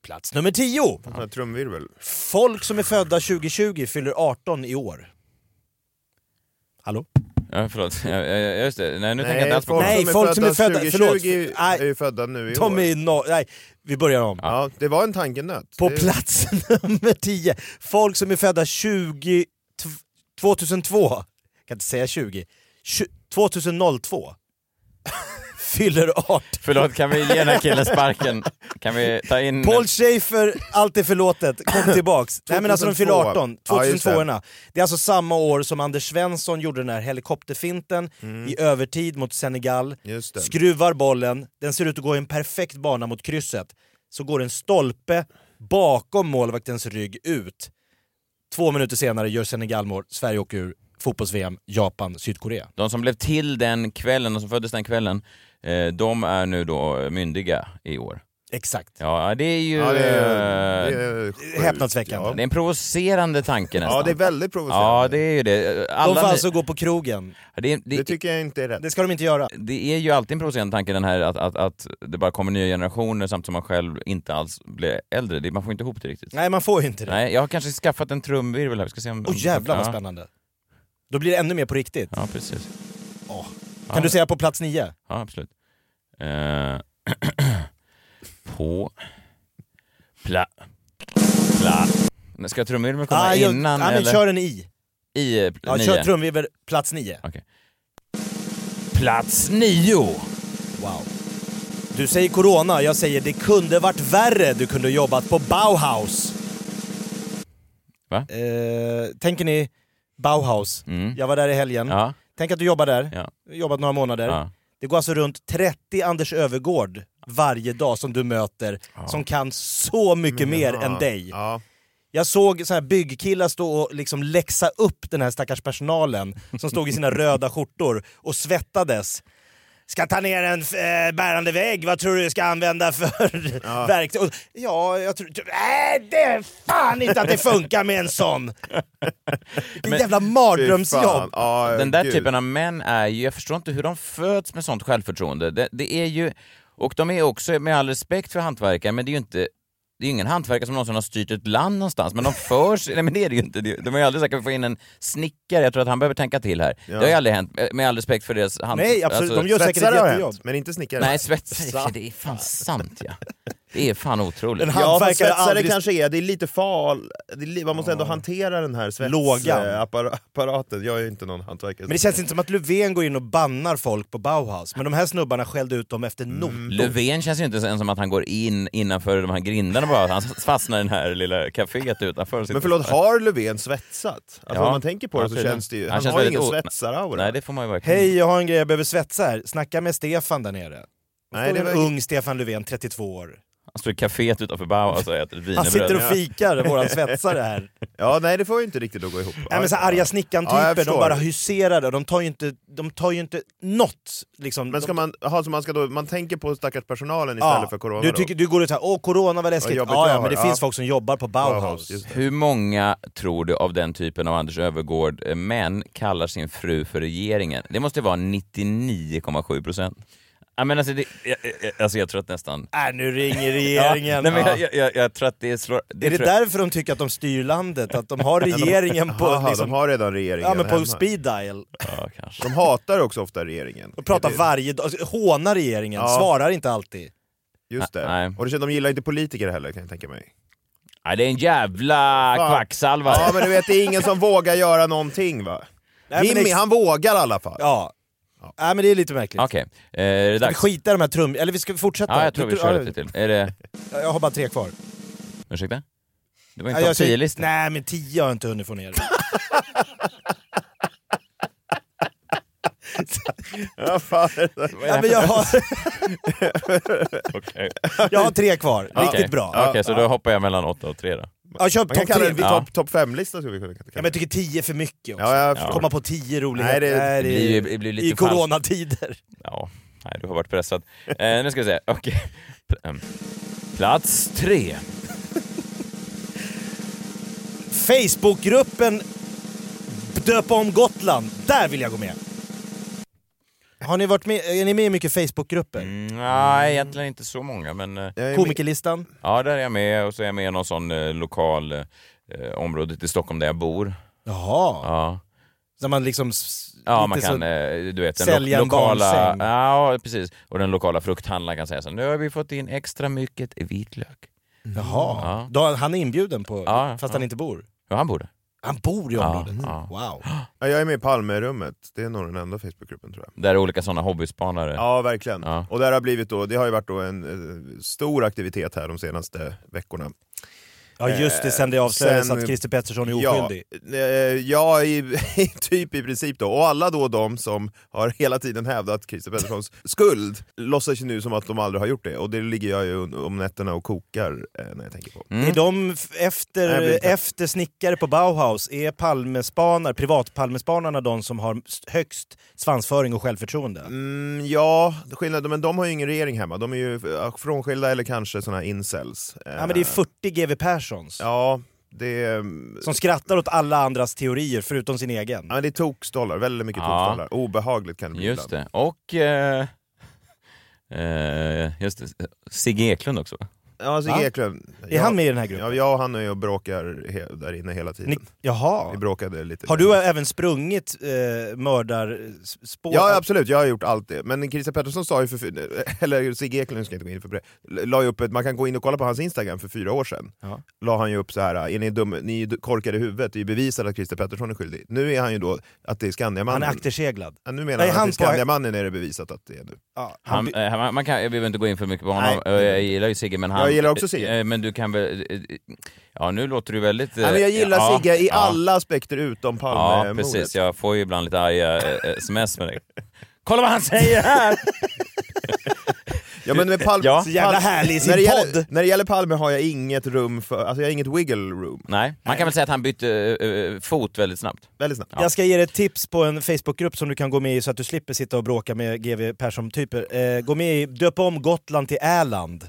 Plats nummer 10.
Sån här Trumvirvel.
Folk som är födda 2020 fyller 18 i år. Hallå?
Ja, förlåt. Ja, ja, ja, just det. Nej, nu tänker jag inte
Nej,
alls på
folk,
det.
Nej,
som,
folk
är
som är födda-
2020
förlåt. Nej.
är ju födda nu i
De
år.
är i no- Nej, vi börjar om.
Ja, det var en tankenöt.
På
det...
plats nummer 10, folk som är födda 20, tv- 2002, jag kan inte säga 20, Tju- 2002 fyller 18.
Förlåt, kan vi ge den här killen sparken? Kan vi ta in...
Paul Schaefer, allt är förlåtet, kom tillbaks. Nej men alltså de fyller 18,
2002. Ja, just det.
2002 erna Det är alltså samma år som Anders Svensson gjorde den här helikopterfinten
Mm.
i övertid mot Senegal.
Just det.
Skruvar bollen, den ser ut att gå i en perfekt bana mot krysset. Så går en stolpe bakom målvaktens rygg ut. Två minuter senare gör Senegal mål, Sverige åker ur fotbolls-VM, Japan, Sydkorea.
De som blev till den kvällen, de som föddes den kvällen, eh, de är nu då myndiga i år.
Exakt.
Ja, det är ju...
Ja, det
eh,
är, det är sjukt.
Häpnadsväckande.
det är en provocerande tanke nästan.
Ja, det är väldigt provocerande.
Ja, det är ju det. Alla,
De får alltså gå på krogen.
det, är- det,
Det
det,
tycker jag inte är rätt.
Det ska de inte göra.
är ju alltid en provocerande tanke den här att, att, att det bara kommer nya generationer samtidigt som man själv inte alls blir äldre. Det, man får inte ihop det riktigt.
Nej, man får ju inte det.
Nej, jag har kanske skaffat en trumvirvel här. Vi ska se om...
Åh
om-
jävlar vad
ja.
spännande. Då blir det ännu mer på riktigt.
Ja, precis.
Kan du säga på plats nio?
Ja, absolut. Eh, på... Pla... Pla... Men Ska trumvirveln komma
Ah, jag-
innan
ja, men
eller?
Kör en i.
I eh,
Ja,
nio?
kör trumvirvel, plats nio.
Plats nio!
Wow. Du säger corona, jag säger det kunde varit värre. Du kunde jobbat på Bauhaus.
Va?
Eh, tänker ni Bauhaus?
Mm.
Jag var där i helgen.
Ja,
Tänk att du jobbar där.
Ja.
Jobbat några månader.
ja.
Det går alltså runt 30 Anders Övergård varje dag som du möter som kan så mycket
Mm.
mer
Ja,
än dig.
Ja.
Jag såg så här byggkillar stå och liksom läxa upp den här stackars personalen som stod i sina röda skjortor och svettades. Ska ta ner en eh, bärande vägg, vad tror du jag ska använda för verktyg? Och, ja, jag tror... Nej, det är fan inte att det funkar med en sån! Det är jävla
Fy fan.
mardrömsjobb!
Ja,
Den där
gud.
typen av män är ju, jag förstår inte hur de föds med sånt självförtroende. Det, det är ju, och de är också, med all respekt för hantverkare, men det är ju inte det är ju ingen hantverkare som någonsin har styrt ett land någonstans, men de förs... nej men det är det ju inte. Det- De har ju aldrig säkert få in en snickare, jag tror att han behöver tänka till här. Det har ju aldrig hänt, eh, med all respekt för deras hand...
Nej, absolut.
alltså-
De gör säkert ett
Svetsare har
jättejobb.
hänt, men inte snickare.
Nej, svetsare, det är fan sant ja. Det är fan otroligt.
En
Ja,
hantverkare
fast svetsare
aldrig...
kanske är, det är lite fal... Det är li... Man måste ändå hantera den här
Lågan.
svetsapparaten. Jag är ju inte någon hantverkare.
Men det känns inte som att Löfven går in och bannar folk på Bauhaus, men de här snubbarna skällde ut dem efter
Mm.
notan.
Löfven känns ju inte ens som att han går in innanför de här grindarna bara, han fastnar i det här lilla kaféet utanför. och sitter-
Men förlåt, har Löfven svetsat? Alltså
Ja.
om man tänker på
Ja,
det så
tydligen.
känns det ju...
Han
Han,
känns
har ju
väldigt
ingen
o-
svetsaraura.
Nej, det får man ju verkligen
Hej, jag har en grej jag behöver svetsa här. Snacka med Stefan där nere.
Nej,
det
det
en
var-
ung Stefan Löfven, 32 år.
Han står i kaféet utanför Bauhaus och äter ett
Han sitter och
wienerbröd.
fikar, våran svetsare här.
Ja, nej det får ju inte riktigt att gå ihop.
Nej men så här arga snickan-typer,
Ja, jag
de
förstår.
bara huserar där. De tar ju inte, de tar ju inte något. Liksom.
Men ska
de,
man, aha, så man, ska då, man tänker på stackars personalen
Ja.
istället för corona
du,
då?
tycker, du går ut här, åh corona var läskigt.
Vad jobbigt
Ja, ja,
jag har.
men det
Ja.
finns folk som jobbar på Bauhaus.
Bauhaus, just det.
Hur många tror du av den typen av Anders Övergård eh, män kallar sin fru för regeringen? Det måste vara 99,7 procent. Ja, men alltså, det, jag, jag- alltså jag tror att nästan...
Äh, nu ringer
Ja,
regeringen.
nej, men
Ja.
jag, jag, jag, jag tror att det slår...
Är det
tror jag-
därför de tycker att de styr landet? Att de har regeringen på,
Aha,
liksom,
de har redan regeringen
ja, men på
hemma.
speed dial?
Ja, kanske.
De hatar också ofta regeringen.
Och pratar
Det-
varje dag, hånar regeringen,
Ja.
svarar inte alltid.
Just det.
Nej.
Och det känns, de gillar inte politiker heller kan jag tänka mig.
Nej, det är en jävla
Fan.
kvacksalvare.
Ja men du vet, det är ingen som vågar göra någonting va?
Nej, men
Jimmy,
ex-
han vågar i alla fall.
Ja. Nej men det är lite märkligt.
Okej, eh, är det
Ska vi
dags?
skita i de här trum... Eller vi ska fortsätta?
Ja, jag tror vi
Du-
kör
ja,
lite till. Är det...
Jag har bara tre kvar.
Ursäkta? Det var
Nej,
inte
jag
topp
säger-
10-listan?
Nej men tio har jag inte hunnit få ner.
Ja, fan.
Nej, men jag, har,
Okej,
jag har tre kvar. Riktigt
Okej.
bra.
Okej, så då hoppar jag mellan 8 och 3 då.
Ja, köp
Man
topp
kan kalla
tre.
det
Ja,
Ja.
topp top fem-lista skulle vi kunna kalla
men
det.
jag tycker tio är för mycket också.
Ja, jag förstår.
Komma på tio roligheter.
Nej, det-
Det
är-
blir, ju- det blir lite
I coronatider.
Ja, nej, du har varit pressad. Eh, nu ska vi se. Okej. Pl- ehm, Plats tre.
Facebookgruppen Döp om Gotland. Där vill jag gå med. Har ni varit med, är ni med i mycket Facebookgrupper?
Mm, nej, egentligen inte så många, men eh,
Jag är med-
Komikerlistan?
ja, där är jag med. Och så är jag med i någon sån eh, lokal eh, området i Stockholm där jag bor.
Jaha.
Ja,
När man liksom... s-
ja
lite
man
så-
kan, eh, du vet, den
sälja
lo-
en
lokala...
barnsäng.
ja, precis. Och den lokala frukthandlaren kan säga så här, nu har vi fått in extra mycket vitlök.
Jaha.
Ja.
Då, han är inbjuden på,
Ja,
fast
ja.
han inte bor.
Ja, han borde.
Han bor i
Ja,
området.
ja.
Wow.
Ja, jag är med i Palmerummet, det är nog den enda Facebookgruppen tror jag.
Där är olika sådana hobbyspanare.
Ja, verkligen.
Ja.
Och där har blivit då, det har ju varit då en eh, stor aktivitet här de senaste veckorna.
Ja just det, sen det avslöjades att Christer Pettersson är oskyldig.
Eh, Ja, eh, ja i, typ i princip då. Och alla då de som har hela tiden hävdat Christer Petterssons skuld låtsas ju nu som att de aldrig har gjort det. Och det ligger jag ju un- om nätterna och kokar eh, när jag tänker på.
Mm.
Är de f- efter,
Nej, det blir inte.
efter snickare på Bauhaus, är palmespanar, privatpalmespanarna de som har s- högst svansföring och självförtroende?
Mm, ja, skillnad, men de har ju ingen regering hemma. De är ju eh, frånskilda eller kanske såna här incels. Eh,
Ja men det är 40 GW Perssons.
Ja, det är... mm,
Som skrattar åt alla andras teorier förutom sin egen.
Ja, men det är tokstollar, väldigt mycket
Ja.
tokstollar. Obehagligt kan det bli
Just
ibland.
det. Och... Eh, eh, just det. Sigge Eklund också. va?
Ja, Sigge
Va?
Eklund.
Är han med i den här gruppen?
Ja, jag och han är ju och bråkar he- där inne hela tiden.
Ni,
Vi
jaha.
bråkade lite.
Har du även sprungit eh, mördarspår?
Ja absolut, jag har gjort allt det. Men Christer Pettersson sa ju, för, eller Sigge Eklund ska jag inte gå in för det, la ju upp ett, man kan gå in och kolla på hans Instagram för fyra år sedan.
Ja.
La han ju upp så här, är ni, dum, ni är ju korkade i huvudet, det är ju bevisat att Christer Pettersson är skyldig. Nu är han ju då att det är
Han
Skandiamannen.
är akterseglad.
ja, nu menar
Nej,
han,
han
att
på-
det är Skandiamannen är det bevisat att det är nu.
Ja, han,
Han,
by-
eh, man, man kan, jag behöver inte gå in för mycket på honom.
Nej.
Eh, jag gillar ju Sigge men han...
Jag gillar också Sigge.
eh, Men du kan väl... eh, eh, Ja, nu låter du väldigt... eh,
Nej, men jag gillar
ja,
Sigge i
ja,
alla eh, aspekter utom
Ja,
Palmemordet.
precis. Jag får ju ibland lite arga eh, sms med dig. Kolla vad han säger här!
Ja, men med Palme,
Ja.
Så jävla härlig i sin
när det Gäller,
podd.
när det gäller Palme har jag inget rum för, alltså jag har inget wiggle room.
Nej, man kan väl säga att han bytte eh, eh, fot väldigt snabbt.
Väldigt snabbt.
Jag ska ge dig ett tips på en Facebookgrupp som du kan gå med i så att du slipper sitta och bråka med GW Persson-typer. Eh, gå med i Döp om Gotland till Äland.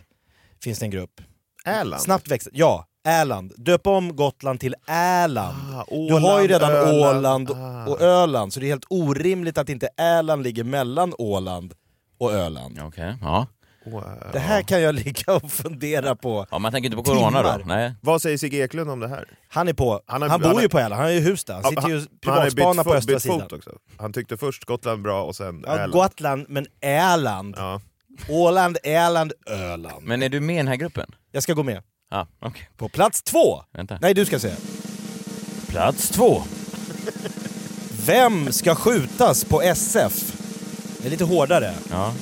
Finns det en grupp.
Äland.
Snabbt växer. Ja, Äland. Döp om Gotland till Äland.
Ah,
du har ju
Åland,
redan Åland
Ah.
och Öland så det är helt orimligt att inte Äland ligger mellan Åland och Öland.
Okej, ja.
Wow.
Det här kan jag ligga och fundera på.
ja. Man tänker inte på corona då?
Timmar.
Nej.
Vad säger Sigge Eklund om det här?
Han är på.
Han
Han,
har-
bor
han har-
ju på Äland, han har ju hus där. Han
Ja,
sitter ju
men har ju
privatspana
bytt
på
fo-
östra
bytt
sidan.
fot också. Han tyckte först Gotland bra och sen
Ja,
Äland.
Gotland, men Äland.
Ja.
Åland, Äland, Öland.
Men är du med i den här gruppen?
Jag ska gå med.
Ja, okej.
På plats två!
Vänta.
Nej, du ska säga.
Plats två.
Vem ska skjutas på SF? Det är lite hårdare.
Ja.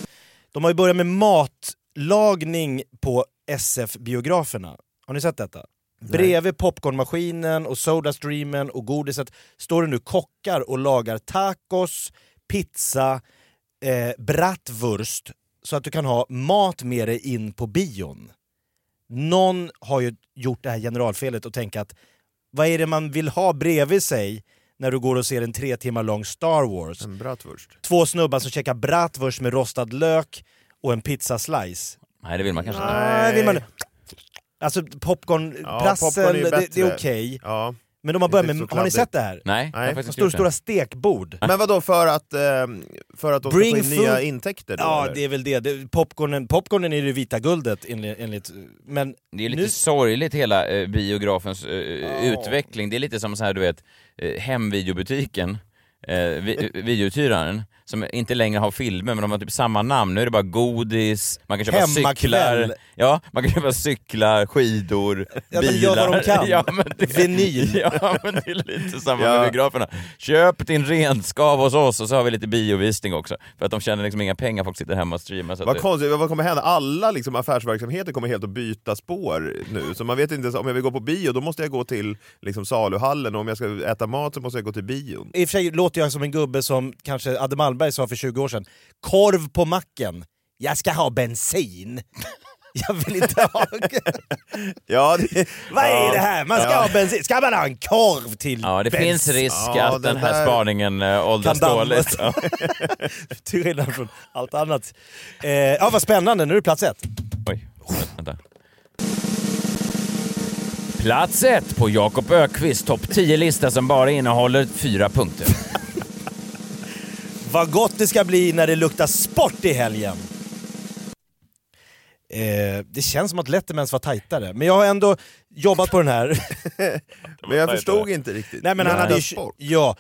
De har ju börjat med matlagning på SF-biograferna. Har ni sett detta? Bredvid popcornmaskinen och Sodastreamen och godiset står det nu kockar och lagar tacos, pizza, eh, bratwurst så att du kan ha mat med dig in på bion. Någon har ju gjort det här generalfelet och tänkt att vad är det man vill ha bredvid sig när du går och ser en tre timmar lång Star Wars?
En bratwurst.
två snubbar som käkar bratwurst med rostad lök och en pizzaslice.
Nej, det vill man kanske inte.
Nej. Vill man... Alltså popcorn,
Ja,
prassel,
popcorn är ju
det, det är
bättre.
okej.
Ja.
Men de har
Det
börjat
är
med,
så
har ni
kladdigt.
sett det här?
Nej, jag har
Nej,
faktiskt
De
inte
står
gjort det.
stora stekbord.
Men vad då för att, ehm, för att de ska
Bring
få in nya
food-
intäkter? Då,
Ja,
eller?
det är väl det. det popcornen, popcornen är det vita guldet enligt... enligt men
Det är lite
nu-
sorgligt hela eh, biografens eh, utveckling. Det är lite som så här, du vet, eh, hemvideobutiken, eh, vi, eh, videouthyraren, som inte längre har filmer men de har typ samma namn. Nu är det bara godis, man kan köpa
Hemmakväll.
cyklar, ja, man kan köpa cyklar, skidor,
Ja, men
bilar.
gör vad de kan.
Ja, men det,
Vinyl.
Ja, men det är lite samma
Ja.
med biograferna. Köp din renskav hos oss och så har vi lite biovisning också. För att de tjänar liksom inga pengar, folk sitter hemma och streamar. Så att
Vad
det-
konstigt, vad kommer hända? Alla liksom affärsverksamheter kommer helt att byta spår nu. Så man vet inte, ens- om jag vill gå på bio då måste jag gå till liksom, saluhallen och om jag ska äta mat så måste jag gå till bion.
I och för sig låter jag som en gubbe som kanske Adde Malmberg sa för 20 år sedan. Korv på macken. Jag ska ha bensin. Jag vill inte ha...
Ja, det,
Vad är
ja.
det här? Man ska
Ja.
ha bensin. Ska man ha en korv till
Ja, det
bensin?
finns risk
Ja,
att den
det
här
där-
spaningen äh, åldras
Kan
dåligt.
dammas.
Ja.
Till skillnad från allt annat. Eh, ja, vad spännande. Nu är det plats ett.
Oj, vänta. Plats ett på Jakob Ökvists topp 10-lista som bara innehåller fyra punkter.
Vad gott det ska bli när det luktar sport i helgen. Eh, det känns som att Lettermans var tajtare, men jag har ändå jobbat på den här.
Men jag förstod inte riktigt.
Nej, men han hade ju,
Sport.
ja,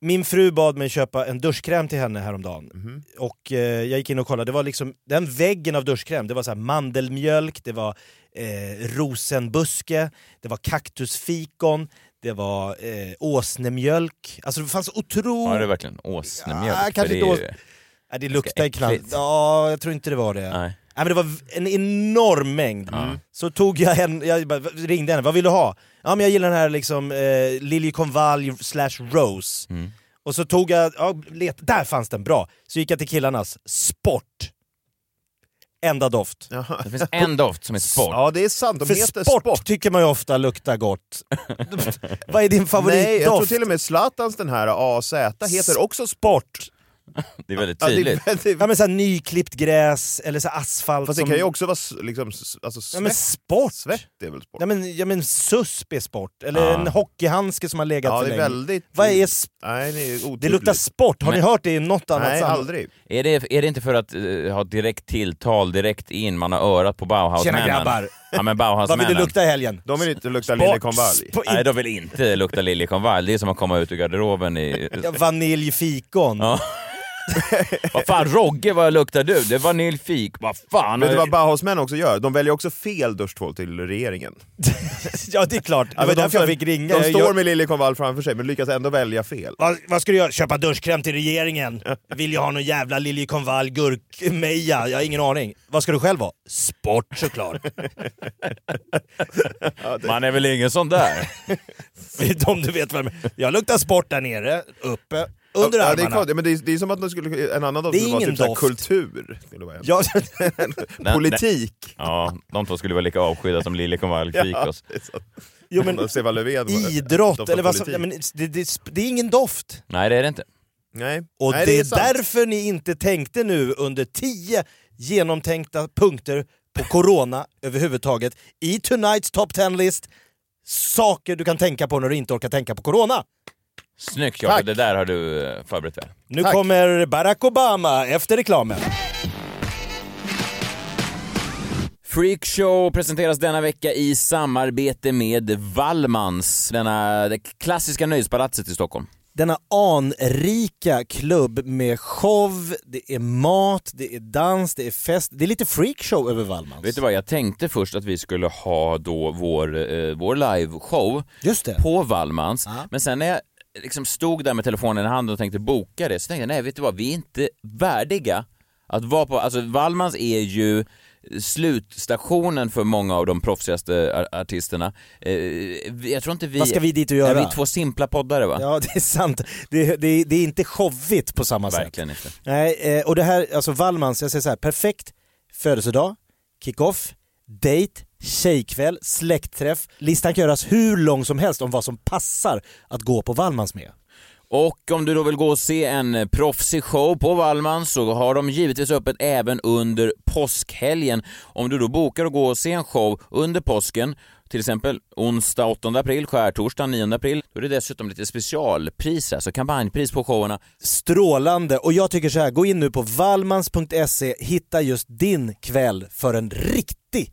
min fru bad mig köpa en duschkräm till henne häromdagen. Och eh, jag gick in och kollade, det var liksom den väggen av duschkräm, det var så här mandelmjölk, det var eh, rosenbuske, det var kaktusfikon, det var eh, åsnemjölk. Alltså det fanns otroligt...
Var det verkligen åsnemjölk?
Ja,
För
kanske
det är
inte
ju-
ås- Nej, det luktar
äckligt.
knappt. Ja, jag tror inte det var det. Nej.
Nej.
men det var v- en enorm mängd. Så tog jag en, jag bara ringde henne, vad vill du ha? Ja men jag gillar den här liksom eh, liljekonvalj slash rose. Och så tog jag, ja, let, där fanns den, bra. Så gick jag till killarnas, sport. Enda doft.
Jaha.
Det finns en doft som är sport.
Ja, det är sant. De
För
heter
sport,
sport.
tycker man ju ofta luktar gott. vad är din favoritdoft?
Nej, jag tror till och med Zlatans den här AZ heter också sport.
Det är väldigt
Ja, det är
tydligt.
väldigt-
Ja men såhär nyklippt gräs eller så här asfalt
Fast det
som...
kan ju också vara s- liksom, s- alltså,
Ja men
svett.
sport!
Svett är väl sport?
Ja men, ja, men susp är sport, eller
Ja.
en hockeyhandske som har legat
Ja,
för
det är
länge.
väldigt...
Vad är sp-
Nej, det är otydligt.
det luktar sport, har ni
Men-
hört det i något annat
Nej,
sammanhang?
aldrig.
Är det, är det inte för att eh, ha direkt tilltal direkt in, man har örat på Bauhausmännen?
Tjena grabbar!
Ja men
Vad vill
Bauhausmännen.
du lukta i helgen?
De vill inte lukta
Sport,
liljekonvalj.
sp-
Nej, de vill inte lukta liljekonvalj. Det är som att komma ut ur garderoben i...
Ja, Vanilj, fikon.
Ja. Vad fan Rogge, vad luktar du? Det är vaniljfik. Vad fan?
Vet du vad Bauhausmän också gör? De väljer också fel duschtvål till regeringen.
ja det är klart, det var
Alltså, de
därför jag
står-
fick ringa.
De
Jag
står
gör-
med liljekonvalj framför sig men lyckas ändå välja fel.
Vad, vad ska du göra? Köpa duschkräm till regeringen? Vill jag ha någon jävla liljekonvalj, gurkmeja? Jag har ingen aning. Vad ska du själv ha? Sport såklart.
Man är väl ingen sån där?
Vet Om du vet vad jag menar. Jag luktar sport där nere, uppe, under
ja, det, är
armarna.
klart, men det, är, det är som att de skulle, en annan doft
Det är
skulle vara
ingen
typ såhär
doft.
kultur. Skulle vara en.
Ja,
Politik.
Ja, de två skulle vara lika avskydda som liljekonvalj fikos.
det är sant.
jo, men
Stefan Löfven. var-
Idrott,
doft
eller
av
vad som,
politik.
ja, men det, det, det är ingen doft.
Nej, det är det inte.
Nej.
Och
Nej,
det är,
sant.
därför ni inte tänkte nu under tio genomtänkta punkter på corona överhuvudtaget i Tonight's Top 10-list saker du kan tänka på när du inte orkar tänka på corona.
Snyggt Jakob,
Tack.
det där har du eh, förberett väl.
Nu kommer Barack Obama efter reklamen.
Freakshow presenteras denna vecka i samarbete med Wallmans, denna, det klassiska nöjespalatset i Stockholm.
denna anrika klubb med show, det är mat, det är dans, det är fest. Det är lite freakshow över Wallmans.
Vet du vad, jag tänkte först att vi skulle ha då vår, eh, vår liveshow
Just det.
på Wallmans, men sen när jag liksom stod där med telefonen i handen och tänkte boka det så tänkte jag nej vet du vad, vi är inte värdiga att vara på, alltså Wallmans är ju slutstationen för många av de proffsigaste ar- artisterna. Eh, vi- jag tror inte vi...
Vad ska vi dit och
Nej,
göra?
vi är två simpla poddare va?
Ja, det är sant. Det, det, det är inte showigt på samma sätt.
Verkligen inte.
Nej, eh, och det här, alltså Wallmans, jag säger så här, perfekt födelsedag, kick-off, date, tjejkväll, släktträff. Listan kan göras hur lång som helst om vad som passar att gå på Wallmans med.
Och om du då vill gå och se en eh, proffsig show på Wallman så har de givetvis öppet även under påskhelgen. Om du då bokar och går och se en show under påsken, till exempel onsdag 8 april, skärtorsdag 9 april, då är det dessutom lite specialpris, alltså kampanjpris på showerna.
Strålande! Och jag tycker så här, gå in nu på valmans.se, hitta just din kväll för en riktig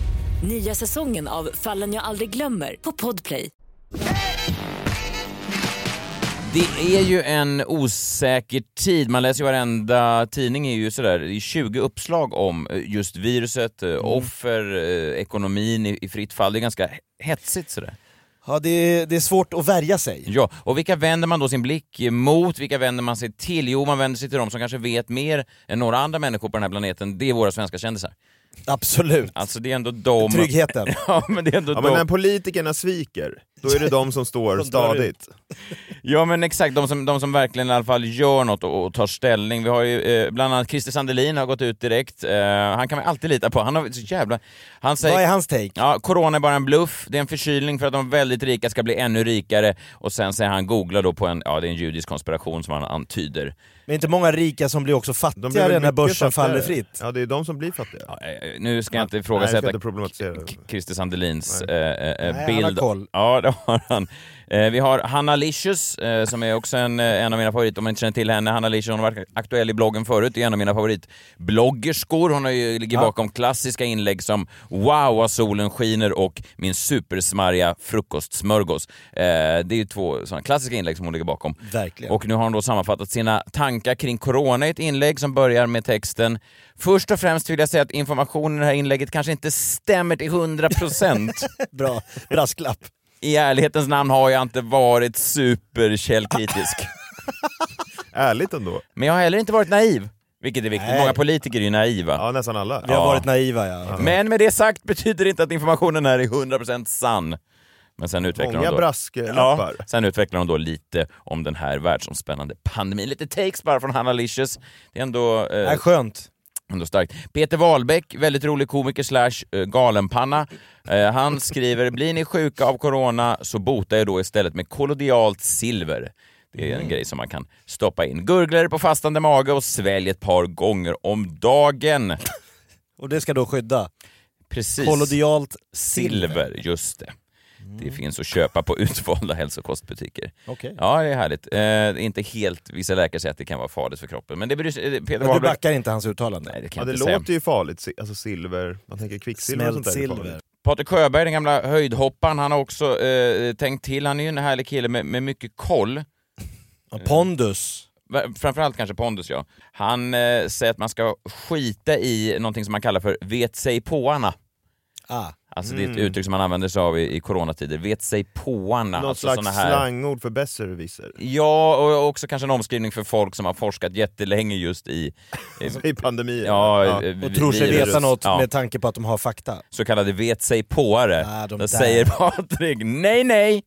Nya säsongen av Fallen jag aldrig glömmer på Podplay.
Det är ju en osäker tid. Man läser ju varenda tidning är ju sådär, det är 20 uppslag om eh, just viruset, eh, offer, eh, ekonomin i, i fritt fall. Det är ganska hetsigt sådär.
Ja, det är, det är svårt att värja sig.
Ja, och vilka vänder man då sin blick mot? Vilka vänder man sig till? Jo, man vänder sig till de som kanske vet mer än några andra människor på den här planeten. Det är våra svenska kändisar.
Absolut.
Alltså det är ändå de...
Tryggheten.
Ja, men det är ändå
Ja, men
de...
när politikerna sviker, då är det de som står
De drar
stadigt.
Ja men exakt, de som, de som verkligen i alla fall gör något och, och tar ställning. Vi har ju eh, bland annat Christer Sandelin har gått ut direkt. Eh, han kan man alltid lita på. Han har så jävla... Han säger...
Vad är hans take?
Ja, corona är bara en bluff, det är en förkylning för att de väldigt rika ska bli ännu rikare och sen säger han googla då på en, ja det är en judisk konspiration som han antyder.
Men inte många rika som blir också
De blir väl
fattigare när
mycket
börsen
fattigare.
faller fritt.
Ja, det är de som blir fattiga.
Ja, eh, Nu ska jag inte
Nej, jag
ifrågasätta
ska inte problematisera. det.
Christer Sandelins eh,
Nej,
eh,
han
bild.
har koll.
Ja, det har han. Eh, vi har Hanna Licious, eh, som är också en, eh, en av mina favoriter, om man inte känner till henne. Hanna Licious, hon har varit aktuell i bloggen förut, är en av mina favoritbloggerskor. Hon har ju, ligger bakom klassiska inlägg som “Wow vad solen skiner” och “Min supersmarriga frukostsmörgås”. Eh, det är ju två sådana klassiska inlägg som hon ligger bakom.
Verkligen.
Och nu har hon då sammanfattat sina tankar kring corona i ett inlägg som börjar med texten “Först och främst vill jag säga att informationen i det här inlägget kanske inte stämmer till 100 procent.
Bra brasklapp.
I ärlighetens namn har jag inte varit superkällkritisk.
Ärligt ändå.
Men jag har heller inte varit naiv, vilket är viktigt.
Nej.
Många politiker är ju naiva.
Ja, nästan alla.
Vi har
Ja.
varit naiva ja.
Men med det sagt betyder det inte att informationen här är 100% sann. Men sen utvecklar
Många
hon då...
brasklappar.
sen utvecklar hon då lite om den här världsomspännande pandemin. Lite takes bara från Hanna Licious. Det är ändå... eh,
Äh, skönt.
Ändå starkt. Peter Wahlbeck, väldigt rolig komiker slash eh, galenpanna. Eh, Han skriver “Blir ni sjuka av corona så bota er då istället med kollodialt silver”. Det är
Mm.
en grej som man kan stoppa in. Gurgla er på fastande mage och svälj ett par gånger om dagen.
Och det ska då skydda.
Precis.
Kollodialt
silver, just det.
Mm.
Det finns att köpa på utvalda hälsokostbutiker.
Mm, Okej.
Ja, det är härligt. Eh, inte helt, vissa läkare säger att det kan vara farligt för kroppen, men det bryr sig... eh, Peter
Men du
Wahlbeck...
backar inte hans uttalande?
Nej, det kan
Ja,
jag
det
inte säga.
låter ju farligt, Si- alltså silver, man tänker kvicksilver och sånt
Smält
där. är
silver.
farligt.
Patrik Sjöberg, den gamla höjdhopparen, han har också eh, tänkt till. Han är ju en härlig kille med, med mycket koll.
Ja, Pondus.
Va- Framförallt kanske pondus, ja. Han eh, säger att man ska skita i någonting som man kallar för vet sig påarna.
Ah.
Alltså det är
Mm.
ett uttryck som man använder sig av i, i coronatider. Vet sig påarna.
Något
alltså
slags
såna här...
slangord för besserwisser
Ja, och också kanske en omskrivning för folk som har forskat jättelänge just i... eh,
Alltså, i pandemin.
ja, eh, vi-
Och tror sig
virus.
veta något
Ja.
med tanke på att de har fakta.
så kallade vet sig påare.
Ah, de
Då
där.
säger Patrik nej, nej.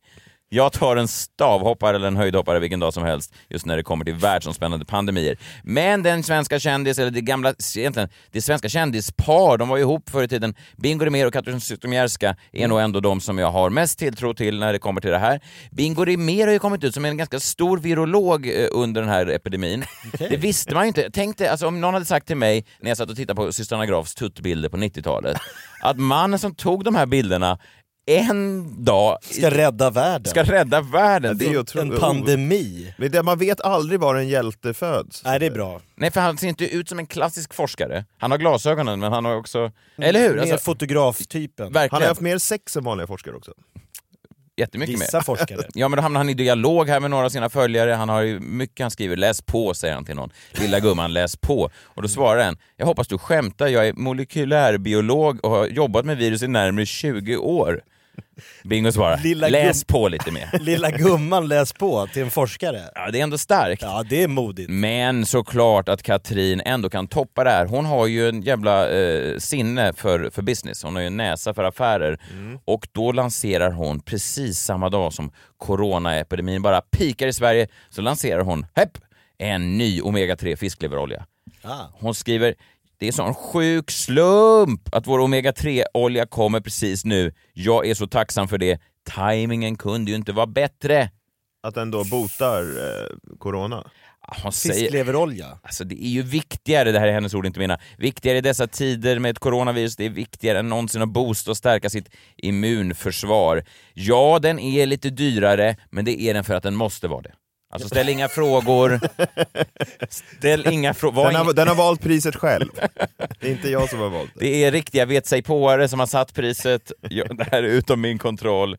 Jag tar en stavhoppare eller en höjdhoppare vilken dag som helst just när det kommer till världsomspännande pandemier. Men den svenska kändis, eller det gamla, egentligen, det svenska kändispar, de var ju ihop förr i tiden. Bingo Rimér och Katrin Zytomierska är nog ändå de som jag har mest tilltro till när det kommer till det här. Bingo Rimér har ju kommit ut som en ganska stor virolog eh, under den här epidemin. Det visste man ju inte. Tänk dig, alltså, om någon hade sagt till mig när jag satt och tittade på systrarna Grafs tuttbilder på 90-talet, att mannen som tog de här bilderna en dag
Ska rädda världen.
ska rädda
Alltså, Ja,
världen.
det är ju otro-
en pandemi.
Men det, man vet aldrig var en hjälte föds.
Nej, det är bra.
Nej, för han ser inte ut som en klassisk forskare. Han har glasögonen, men han har också... Eller hur?
Mer
Alltså,
fotograftypen.
Mm, Han
verkligen.
har haft mer sex än vanliga forskare också.
Jättemycket mer.
Vissa forskare.
Ja men då hamnar han i dialog här med några av sina följare, han har ju mycket han skriver, läs på säger han till någon. Lilla gumman, läs på. Och då svarar en, jag hoppas du skämtar, jag är molekylärbiolog och har jobbat med virus i närmare 20 år. Bingo svarar,
Lilla
läs på lite mer.
Lilla gumman läs på till en forskare.
Ja, det är ändå starkt.
Ja, det är modigt.
Men såklart att Katrin ändå kan toppa det här. Hon har ju en jävla eh, sinne för, för business, hon har ju en näsa för affärer. Och då lanserar hon precis samma dag som coronaepidemin bara pikar i Sverige, så lanserar hon, hepp, en ny omega-3 fiskleverolja.
Ah.
Hon skriver det är sån sjuk slump att vår omega-3-olja kommer precis nu. Jag är så tacksam för det. Timingen kunde ju inte vara bättre.
Att den då botar eh, corona?
Ah, Hon säger,
Fiskleverolja.
Alltså det är ju viktigare, det här är hennes ord inte mina, viktigare i dessa tider med ett coronavirus, det är viktigare än någonsin att boosta och stärka sitt immunförsvar. Ja, den är lite dyrare, men det är den för att den måste vara det. Alltså ställ inga frågor. Ställ inga frågor.
Den har, den har valt priset själv. Det är inte jag som har valt det.
Det är riktiga vet sig påare som har satt priset. Ja, Det här är utom min kontroll.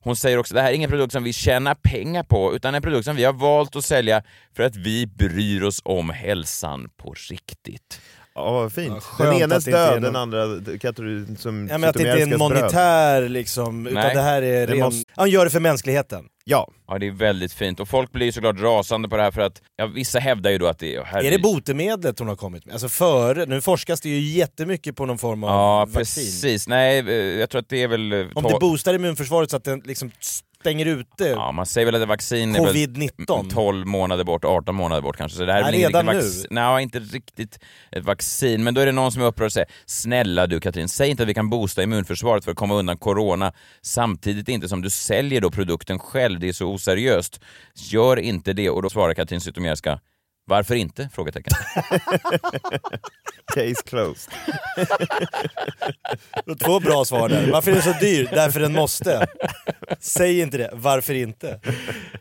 Hon säger också det här är ingen produkt som vi tjänar pengar på utan en produkt som vi har valt att sälja för att vi bryr oss om hälsan på riktigt.
Ja, vad fint.
skönt
Den
att
enes
det inte är
död,
någon-
den andra d- kategorin som
Ja, men att det inte är en
Sutomierskas bröd.
monetär liksom, utan
Nej.
det här är
Det
ren...
måste-
Han gör det för mänskligheten.
Ja,
Ja, det är väldigt fint. Och folk blir ju såklart rasande på det här för att, ja, vissa hävdar ju då att det är...
Är
herregud.
det botemedlet hon har kommit med? Alltså före, nu forskas det ju jättemycket på någon form av
Ja,
vaccin.
precis. Nej, eh, jag tror att det är väl... eh,
Om
ta-
det boostar immunförsvaret så att den liksom stänger ute
Ja, man säger väl att vaccin är väl
covid-19.
12 månader bort, 18 månader bort kanske. Så det här är
Nej,
väl inget
redan
riktigt vaccin. Nej, inte riktigt ett vaccin. Men då är det någon som är upprörd och säger “Snälla du Katrin, säg inte att vi kan boosta immunförsvaret för att komma undan corona samtidigt inte som du säljer då produkten själv, det är så oseriöst. Gör inte det” och då svarar Katrin Zytomierska “Varför inte?” frågetecken.
case closed.
Två bra svar där. Varför är den så dyr? Därför den måste. Säg inte det. Varför inte?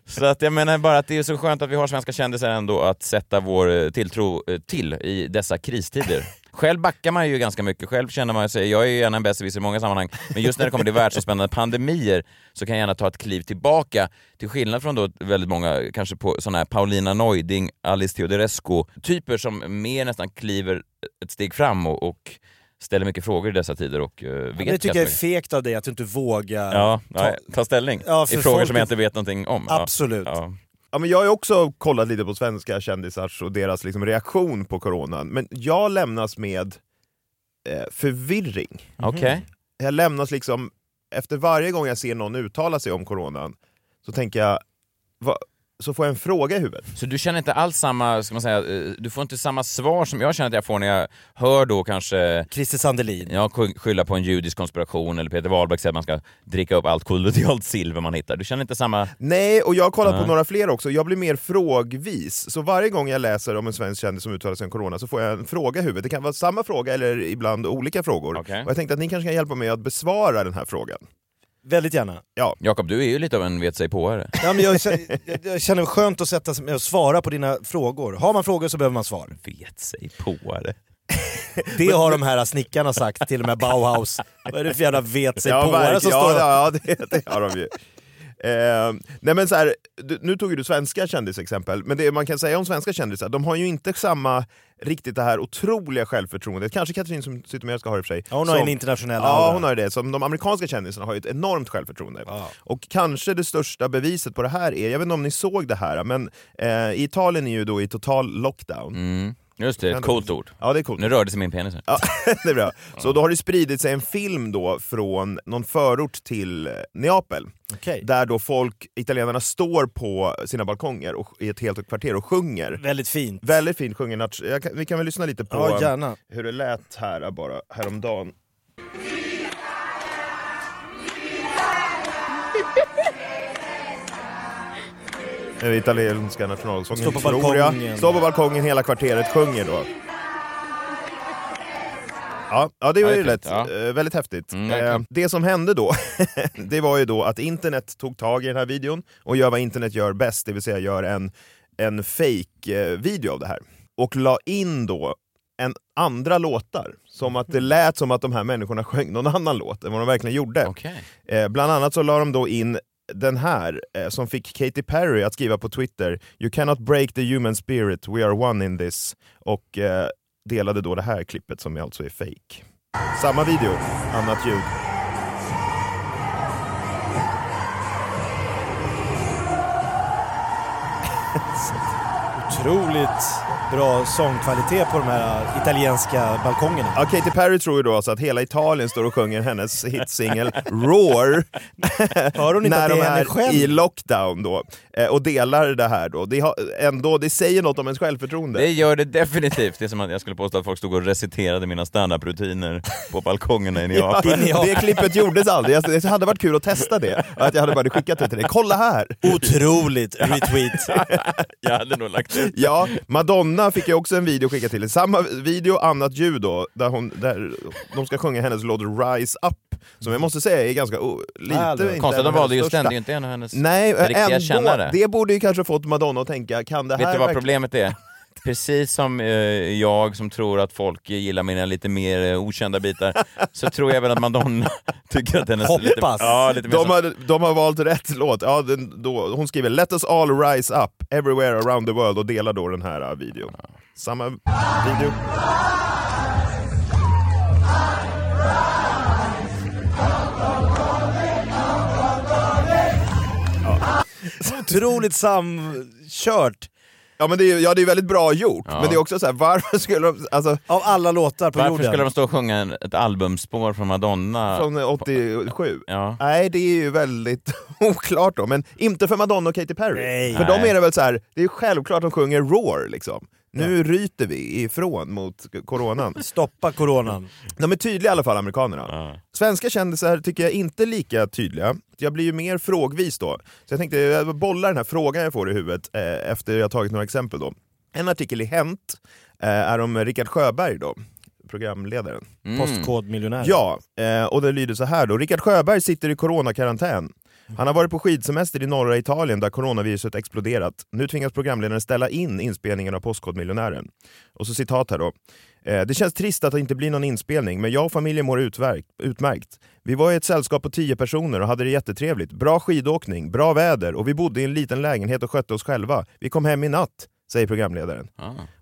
Så att jag menar bara att det är så skönt att vi har svenska kändisar ändå att sätta vår eh, tilltro eh, till i dessa kristider. Själv backar man ju ganska mycket, själv känner man sig, jag är ju gärna en besserwisser i många sammanhang, men just när det kommer till världsomspännande pandemier så kan jag gärna ta ett kliv tillbaka, till skillnad från då väldigt många, kanske på sådana här Paulina Neuding, Alice Teodorescu-typer som mer nästan kliver ett steg fram och, och ställer mycket frågor i dessa tider och eh, vet
Det tycker
ganska
jag är
mycket.
fegt av dig att du inte vågar.
Ja, ta, ta ställning
Ja,
i
för
frågor som jag
folket-
inte vet någonting om. Ja.
Absolut.
Ja.
Ja, men jag har ju också kollat lite på svenska kändisars och deras liksom reaktion på coronan, men jag lämnas med eh, förvirring.
Mhm.
Okej.
Jag lämnas liksom, efter varje gång jag ser någon uttala sig om coronan, så tänker jag, va, så får jag en fråga i huvudet.
Så du känner inte alls samma, ska man säga, eh, du får inte samma svar som jag känner att jag får när jag hör då kanske
Christer Sandelin.
jag skylla på en judisk konspiration eller Peter Wahlbeck säger att man ska dricka upp allt kollodialt silver man hittar. Du känner inte samma...
Nej, och jag har kollat
Nej.
på några fler också. Jag blir mer frågvis. Så varje gång jag läser om en svensk kändis som uttalar sig om corona så får jag en fråga i huvudet. Det kan vara samma fråga eller ibland olika frågor.
Okej.
Och jag tänkte att ni kanske kan hjälpa mig att besvara den här frågan.
Väldigt gärna.
Jakob, du är ju lite av en vet sig påare.
Ja, men jag, känner- jag, jag känner det skönt att sätta sig med och svara på dina frågor. Har man frågor så behöver man svar.
Vet sig påare?
Det har de här snickarna sagt, till och med Bauhaus. Vad är det för jävla vet sig
verkligen.
påare som
ja,
står och-
ja, det, det har de ju. Eh, nej men så här, du, nu tog ju du svenska kändisexempel, men det man kan säga om svenska kändisar, de har ju inte samma riktigt det här otroliga självförtroendet, kanske Katrin Zytomierska har i och för sig.
Ja, hon har
som-
en internationell
Ja,
aura.
hon har ju det. Som de amerikanska kändisarna har ju ett enormt självförtroende. Och kanske det största beviset på det här är, jag vet inte om ni såg det här, men eh, Italien är ju då i total lockdown.
Mm. Just det, ett coolt ord.
Ja, det är coolt.
Nu rörde sig min penis här.
Ja, det är bra. Så då har det spridit sig en film då från någon förort till eh, Neapel.
Okej.
Där då folk, italienarna står på sina balkonger och, i ett helt kvarter och sjunger.
Väldigt fint.
Väldigt fint sjungen. nat- jag kan- Vi kan väl lyssna lite på
Ja,
eh,
gärna.
hur det lät här eh, bara häromdagen. Den italienska nationalsången.
Står på
tror jag.
balkongen.
Står på balkongen, hela kvarteret sjunger då. Ja,
Ja,
ja det var
det
ju
är fint,
lätt.
ja.
Eh, väldigt häftigt.
Mm,
eh,
verkligen.
det som hände då, det var ju då att internet tog tag i den här videon och gör vad internet gör bäst, det vill säga gör en, en fake-video av det här. Och la in då en andra låtar, som att det lät som att de här människorna sjöng någon annan låt än vad de verkligen gjorde.
Okej.
Eh, bland annat så la de då in den här eh, som fick Katy Perry att skriva på Twitter “You cannot break the human spirit, we are one in this” och eh, delade då det här klippet som alltså är fake. Samma video, annat ljud.
Otroligt bra sångkvalitet på de här italienska balkongerna.
Ja, Katy Perry tror ju då alltså att hela Italien står och sjunger hennes hitsingel Roar
Hör hon inte
när
att det
de
är henne
är
själv?
i lockdown då, eh, och delar det här då. Det, har, ändå, det säger något om ens självförtroende.
Det gör det definitivt. Det är som att jag skulle påstå att folk stod och reciterade mina standup-rutiner på balkongerna i
Ja,
Neapel.
det klippet gjordes aldrig, Jag- det hade varit kul att testa det. Att jag hade bara skickat det till dig. Kolla här!
Otroligt retweet.
Jag hade nog lagt ut.
Ja, Madonna fick jag också en video skickad till. Samma video, annat ljud då, där, hon, där de ska sjunga hennes låt Rise Up, som jag måste säga är ganska... o- lite,
Härligt.
inte
Konstigt
en
att de
av
valde
hennes
just den, det är
största.
ju inte en av hennes
Nej,
riktiga
ändå.
kännare.
Det borde ju kanske fått Madonna att tänka, kan det här
Vet du vad
verkligen-
problemet är? Precis som eh, jag som tror att folk gillar mina lite mer eh, okända bitar, så tror jag väl att Madonna tycker att hennes... Lite,
Hoppas.
ja, lite mer
De
som,
har, de har valt rätt låt. Ja, den, då, hon skriver “Let us all rise up, everywhere around the world” och delar då den här eh, videon. Samma video.
Otroligt samkört.
Ja, men det är ju ja, det är väldigt bra gjort, men det är också så här, varför skulle de... Alltså,
Av alla låtar på
varför
jorden.
skulle de stå och sjunga en- ett albumspår från Madonna?
från eh, 87?
Ja.
Nej, det är ju väldigt oklart då, men inte för Madonna och Katy Perry.
Nej.
För
Nej.
dem är det väl så här, det är självklart de sjunger “Roar” liksom. Nu ryter vi ifrån mot coronan.
Stoppa coronan.
De är tydliga i alla fall, amerikanerna. Svenska kändisar tycker jag inte är lika tydliga. Jag blir ju mer frågvis då. Så jag tänkte jag bollar den här frågan jag får i huvudet eh, efter jag har tagit några exempel då. En artikel i Hänt eh, är om Rickard Sjöberg då, programledaren.
Mm,
Postkodmiljonär.
Mm. Ja, eh, och det lyder så här då. Rickard Sjöberg sitter i coronakarantän. Han har varit på skidsemester i norra Italien där coronaviruset exploderat. Nu tvingas programledaren ställa in inspelningen av Postkodmiljonären. Och så citat här då. Eh, Det känns trist att det inte blir någon inspelning, men jag och familjen mår utverk- utmärkt. Vi var i ett sällskap på tio personer och hade det jättetrevligt. Bra skidåkning, bra väder och vi bodde i en liten lägenhet och skötte oss själva. Vi kom hem i natt, säger programledaren.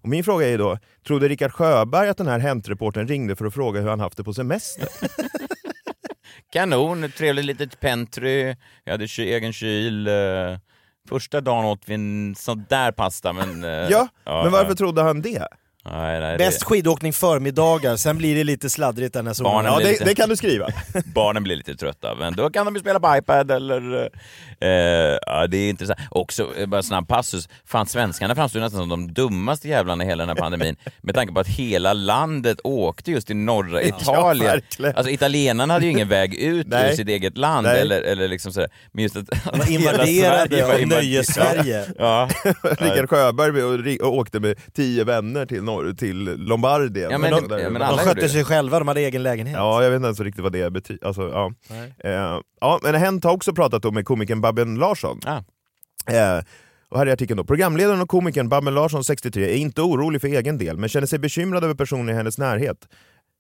Och min fråga är då, trodde Rickard Sjöberg att den här Hänt-reportern ringde för att fråga hur han haft det på semester?
Kanon, ett trevligt litet pentry, jag hade ky, egen kyl. eh, Första dagen åt vi en sån där pasta men... eh,
Ja, men varför
ja.
trodde han det?
Nej, nej,
Bäst skidåkning förmiddagar, sen blir det lite sladdrigt där när solen...
Barnen
Ja,
blir
det,
lite-
det kan du skriva.
barnen blir lite trötta, men då kan de ju spela på iPad eller... Eh, ja, det är intressant. Också, eh, bara en snabb passus, fan svenskarna framstår ju nästan som de dummaste jävlarna i hela den här pandemin med tanke på att hela landet åkte just i norra Italien.
verkligen.
alltså italienarna hade ju ingen väg ut ur
Nej.
sitt eget land
Nej.
eller, eller liksom sådär. Men just att... att hela
De invaderade
Sverige var
av
invaderat.
Nöjes-Sverige.
Ja.
Rickard Sjöberg och, ri- och åkte med tio vänner till, norr, till Lombardien.
Ja, men-
Eller något där.
ja, men
De
alla- gjorde
skötte
det.
sig själva, de hade egen lägenhet.
Ja, jag vet inte ens riktigt vad det betyder. Alltså, ja. Eh, ja, men Hent har också pratat då med komikern Babben Larsson.
Ah.
Eh, och här är artikeln då. Programledaren och komikern Babben Larsson, 63, är inte orolig för egen del, men känner sig bekymrad över personer i hennes närhet.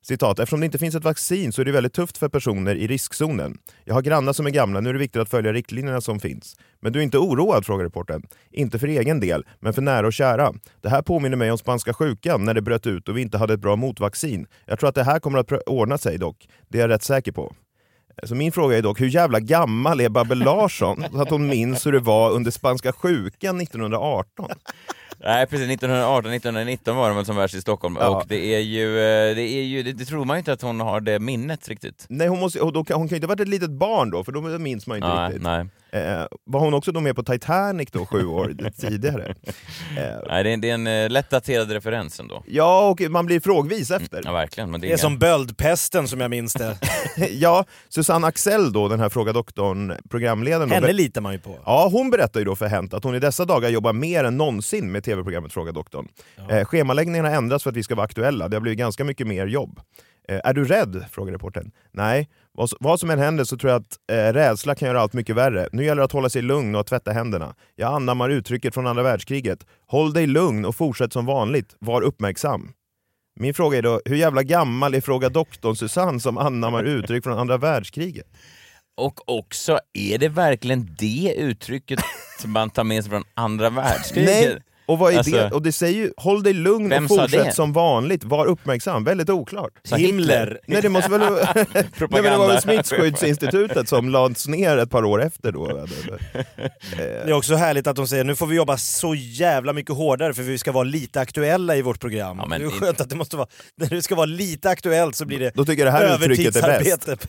Citat, eftersom det inte finns ett vaccin så är det väldigt tufft för personer i riskzonen. Jag har grannar som är gamla, nu är det viktigt att följa riktlinjerna som finns. Men du är inte oroad? frågar reportern. Inte för egen del, men för nära och kära. Det här påminner mig om spanska sjukan när det bröt ut och vi inte hade ett bra motvaccin. Jag tror att det här kommer att prö- ordna sig dock. Det är jag rätt säker på. Eh, Så min fråga är dock, hur jävla gammal är Babbel Larsson så att hon minns hur det var under spanska sjukan 1918?
Nej precis, 1918, 1919 var de väl som värst i Stockholm
Ja.
och det är ju, eh, det, är ju det, det tror man ju inte att hon har det minnet riktigt.
Nej, hon, måste, och då, kan- hon kan ju inte ha varit ett litet barn då, för då minns man ju inte
Nej,
riktigt.
nej.
Eh, var hon också då med på Titanic då, sju år tidigare? Eh,
Nej, det är, det är en eh, lätt daterad referens ändå.
ja, och man blir frågvis efter.
Ja, verkligen. Men det är
Det är
inga...
som böldpesten som jag minns det.
ja, Susanne Axel då, den här Fråga doktorn programledaren. då,
Henne
ber-
litar man ju på.
Ja, hon berättar ju då för Hent att hon i dessa dagar jobbar mer än någonsin med tv-programmet Fråga doktorn. Eh, schemaläggningen har ändrats för att vi ska vara aktuella. Det har blivit ganska mycket mer jobb. Eh, är du rädd? frågar reportern. Nej, vad, s- vad som än händer så tror jag att eh, rädsla kan göra allt mycket värre. Nu gäller det att hålla sig lugn och att tvätta händerna. Jag anammar uttrycket från andra världskriget. Håll dig lugn och fortsätt som vanligt. Var uppmärksam. Min fråga är då, hur jävla gammal är Fråga doktorn Susanne som anammar uttryck från andra världskriget?
Och också, är det verkligen det uttrycket som man tar med sig från andra världskriget?
Nej, Och, vad är
Alltså-
det? och det säger ju, håll dig lugn
Vem
och
sa det?
fortsätt som vanligt, var uppmärksam. Väldigt oklart.
Sa Hitler?
Nej det måste väl vara... Nej, men det var väl smittskyddsinstitutet som lades ner ett par år efter då.
Det är också härligt att de säger nu får vi jobba så jävla mycket hårdare för vi ska vara lite aktuella i vårt program.
Ja, men
det är
in-
skönt att det måste vara, när det ska vara lite aktuellt så blir det
Då tycker jag det här uttrycket är bäst.
övertidsarbete.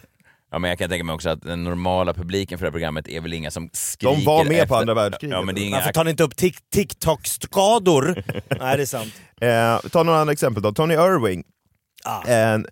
Ja, men jag kan tänka mig också att den normala publiken för det här programmet är väl inga som skriker
De var med
efter...
på andra världskriget.
Ja, men det är inga
Varför tar ni inte upp tik- TikTok-skador? Nej det är sant.
eh, ta några andra exempel då. Tony Irving,
Ah,
en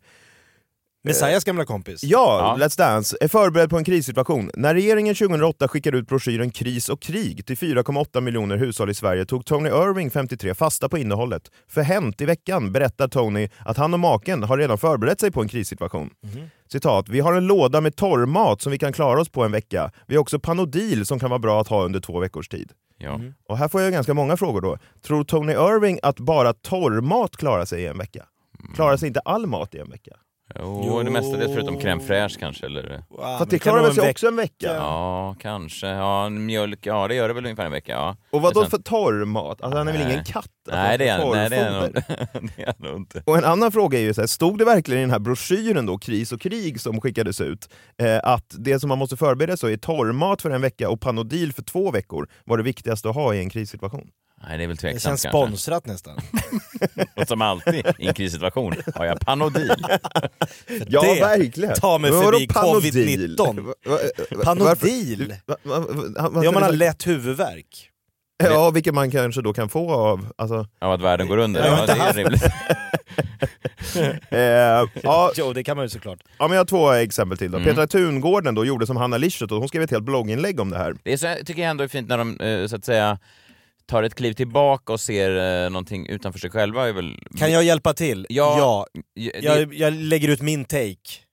Messias gamla kompis.
Ja,
Ja.
Let's Dance är förberedd på en krissituation. När regeringen 2008 skickade ut broschyren Kris och krig till 4,8 miljoner hushåll i Sverige tog Tony Irving, 53, fasta på innehållet. För Hänt i veckan berättar Tony att han och maken har redan förberett sig på en krissituation.
Mhm.
Citat, vi har en låda med torrmat som vi kan klara oss på en vecka. Vi har också Panodil som kan vara bra att ha under två veckors tid.
Ja.
Och här får jag ganska många frågor då. Tror Tony Irving att bara torrmat klarar sig i en vecka?
Mm.
Klarar sig inte all mat i en vecka?
Jo, det mesta det är förutom crème fraîche kanske, eller?
Wow,
För att det klarar väl sig också en vecka?
Ja, kanske. Ja, en mjölk, ja det gör det väl ungefär en vecka. Ja.
Och vad då
Det är sant.
för torr mat? Alltså han är väl
Nej.
ingen katt? Att han
Nej, det
får
är, nej, det är, nog,
torrfoder.
det är nog inte.
Och en annan fråga är ju så här, stod det verkligen i den här broschyren då, Kris och krig, som skickades ut, eh, att det som man måste förbereda sig är torrmat för en vecka och Panodil för två veckor var det viktigaste att ha i en krissituation?
Nej, det är väl
Det
tveksamt
känns
kanske.
sponsrat nästan.
Och som alltid i en krissituation har jag Panodil.
Ja,
det
verkligen!
tar mig
Men vadå
förbi
Panodil?
covid-19.
Va- va- va-
Panodil!
varför- va- va- va- han-
Det är om man har
han-
lätt huvudvärk.
Ja, vilket man kanske då kan få av... Alltså,
Av att världen går under.
Jag har
Ja,
inte
det är
haft-
rimligt.
eh, ja, Mm.
Jo, det kan man ju såklart.
ja, men jag har två exempel till. Då.
Mm.
Petra Tungården då gjorde som Hanna Lischert och hon skrev ett helt blogginlägg om det här.
Det är så, tycker jag ändå är fint när de eh, så att säga tar ett kliv tillbaka och ser eh, någonting utanför sig själva. Är väl...
Kan jag hjälpa till?
Ja.
ja.
Det-
Jag, jag lägger ut min take.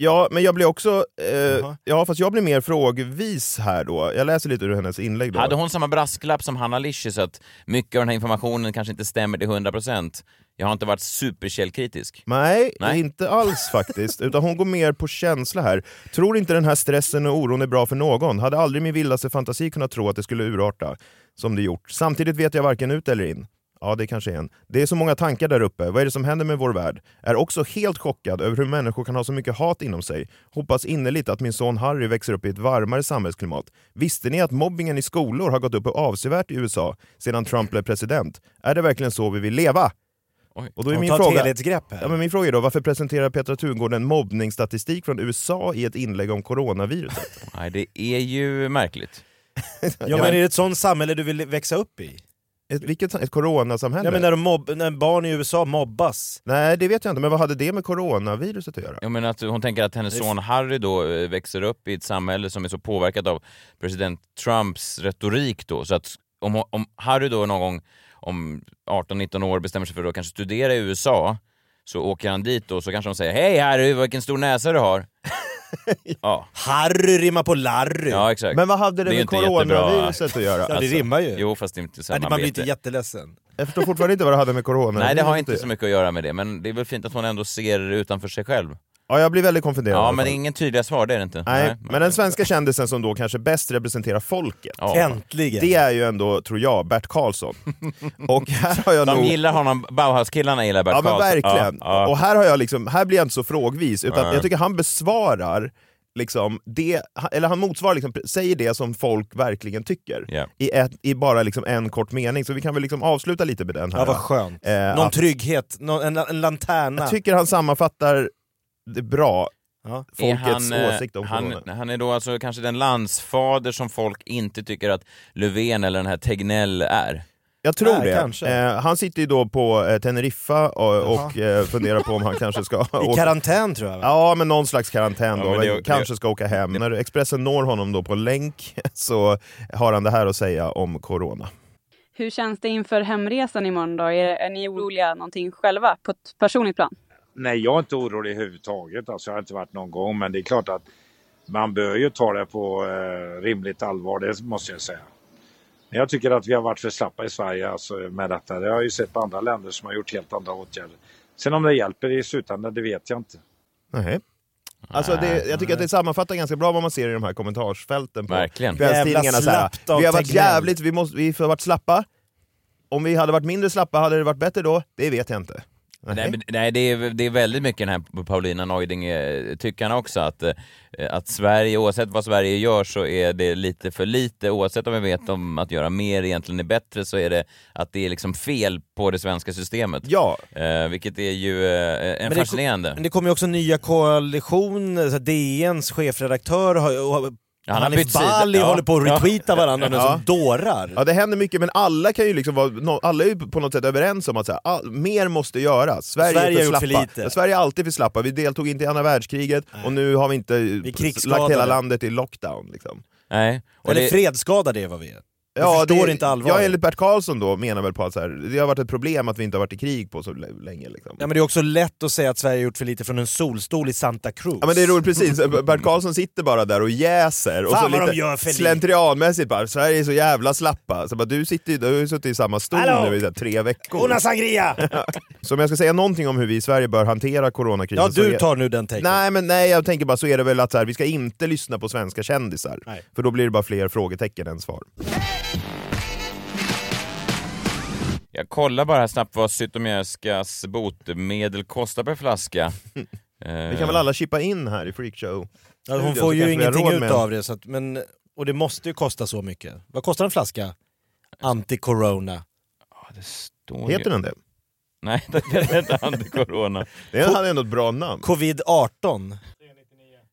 Ja, men jag blir också... Eh,
Jaha.
ja, fast jag blir mer frågvis här då. Jag läser lite ur hennes inlägg då.
Hade hon samma brasklapp som Hanna Lischi så att mycket av den här informationen kanske inte stämmer till 100%? Jag har inte varit superkällkritisk.
Nej,
Nej.
inte alls faktiskt. Utan hon går mer på känsla här. Tror inte den här stressen och oron är bra för någon. Hade aldrig min vildaste fantasi kunnat tro att det skulle urarta som det gjort. Samtidigt vet jag varken ut eller in. Ja, det kanske är en. Det är så många tankar där uppe. Vad är det som händer med vår värld? Är också helt chockad över hur människor kan ha så mycket hat inom sig. Hoppas innerligt att min son Harry växer upp i ett varmare samhällsklimat. Visste ni att mobbingen i skolor har gått upp avsevärt i USA sedan Trump blev president? Är det verkligen så vi vill leva?
Oj.
Och då är
Hon
min
tar ett
fråga...
helhetsgrepp här.
Ja, men min fråga är då, varför presenterar Petra Tungården mobbningsstatistik från USA i ett inlägg om coronaviruset?
Nej, det är ju märkligt.
Ja, men är det ett sånt samhälle du vill växa upp i?
Ett, vilket ett coronasamhälle?
Ja, men när, de mobb, när barn i USA mobbas.
Nej, det vet jag inte, men vad hade det med coronaviruset att göra?
Jag menar att hon tänker att hennes son Harry då eh, växer upp i ett samhälle som är så påverkat av president Trumps retorik då så att om, hon- om Harry då någon gång om 18-19 år bestämmer sig för att kanske studera i USA så åker han dit och så kanske de säger Hej Harry, vilken stor näsa du har! ja,
Harry rimmar på Larry.
ja, exakt.
Men vad hade det,
Det är ju
med
inte jättebra.
coronaviruset att göra?
Ja, det
Alltså,
rimmar ju.
Jo, fast det är inte
Nej,
samma
man blir inte jätteledsen.
jag förstår fortfarande inte vad det hade med coronaviruset
Nej, det har
att
inte så
göra.
mycket att göra med det, men det är väl fint att hon ändå ser utanför sig själv.
Ja, jag blir väldigt konfunderad. i
Ja,
alla
men det
fall.
är ingen tydliga svar, det är det inte.
Nej, men den svenska kändisen som då kanske bäst representerar folket,
Ja.
Äntligen!
det är ju ändå, tror jag, Bert Karlsson. Och här har jag
De
nog...
gillar honom, Bauhaus-killarna gillar Bert
Ja men
Karlsson.
verkligen.
Ja, ja.
Och här, har jag liksom, här blir jag inte så frågvis, utan
Nej.
jag tycker han besvarar Liksom det, han- eller han motsvarar, liksom, säger det som folk verkligen tycker
Ja.
i, ett, i bara liksom en kort mening. Så vi kan väl liksom avsluta lite med den här.
ja, vad skönt.
Eh,
Någon
att-
trygghet, någon, en, en lanterna.
jag tycker han sammanfattar det bra,
Ja.
Är
folkets
eh,
åsikt om corona.
han, han är då alltså kanske den landsfader som folk inte tycker att Löfven eller den här Tegnell är.
Jag tror
Nej,
det.
kanske.
Eh, han sitter ju då på eh, Teneriffa och, och eh, funderar på om han kanske ska
I
åka
karantän tror jag. va?
Ja, men någon slags karantän
Ja,
då.
men det-
kanske ska åka hem. När Expressen når honom då på länk så har han det här att säga om corona.
Hur känns det inför hemresan imorgon då? Är, är ni oroliga någonting själva på ett personligt plan?
Nej, jag är inte orolig överhuvudtaget. Alltså, jag har inte varit någon gång, men det är klart att man bör ju ta det på eh, rimligt allvar, det måste jag säga. Men jag tycker att vi har varit för slappa i Sverige alltså, med detta. Det har jag ju sett på andra länder som har gjort helt andra åtgärder. Sen om det hjälper i slutändan, det vet jag inte.
Nej. Alltså det, jag tycker att det sammanfattar ganska bra vad man ser i de här kommentarsfälten på
Verkligen.
kvällstidningarna.
Jävla
Så här,
slappt av
vi har varit
Tegnell."
jävligt, vi, måste, vi har varit slappa, Om vi hade varit mindre slappa, hade det varit bättre då? Det vet jag inte.
Nej, men, nej det, är, det är väldigt mycket den här Paulina Neuding-tyckarna också, att, eh, att Sverige, oavsett vad Sverige gör så är det lite för lite, oavsett om vi vet om att göra mer egentligen är bättre så är det att det är liksom fel på det svenska systemet.
Ja.
Eh, vilket är ju eh, en
Men det-
fascinerande.
Men det kommer ju också nya koalitioner, så här, DNs chefredaktör har, och,
Ja,
han
han har
Hanif
bytt sida.
Bali
Ja.
håller på att retweeta
Ja.
varandra nu
Ja.
som dårar.
Ja, det händer mycket, men alla kan ju liksom vara, no- alla är ju på något sätt överens om att så här, all, mer måste göras. Sverige,
Sverige har
är för
gjort
slappa.
för lite.
Ja, Sverige är alltid för slappa. Vi deltog inte i andra världskriget och nu har vi inte lagt
krigsskadade.
hela landet i lockdown. Liksom.
Nej.
Och Eller det- fredsskadade är vad vi är. Vi förstår inte allvaret.
Ja, enligt Bert Karlsson då menar väl på att så här, det har varit ett problem att vi inte har varit i krig på så l- länge. Liksom.
Ja, men det är också lätt att säga att Sverige har gjort för lite från en solstol i Santa Cruz.
Ja men det är roligt, precis. Bert Karlsson sitter bara där och jäser och
Fan
så
vad de
lite
gör för lite.
slentrianmässigt bara “Sverige är så jävla slappa”. Så bara, du, sitter, ju- du har ju suttit i samma stol
Hallå!
nu i så här, tre veckor.
Una sangria!
så om jag ska säga någonting om hur vi i Sverige bör hantera coronakrisen
Ja,
så
du
är-
tar nu den taken.
Nej men nej, jag tänker bara så är det väl att så här, vi ska inte lyssna på svenska kändisar.
Nej.
För då blir det bara fler frågetecken än svar.
Jag kollar bara här snabbt vad cytomjäskas botemedel kostar per flaska. Eh,
Vi
Eh.
kan väl alla chippa in här i freakshow?
Ja, hon får ju ingenting ut av det, så att, men, och det måste ju kosta så mycket. Vad kostar en flaska anti-corona?
Heter den det?
Nej, den heter antikorona.
Det hade ändå ett bra namn.
Covid-18.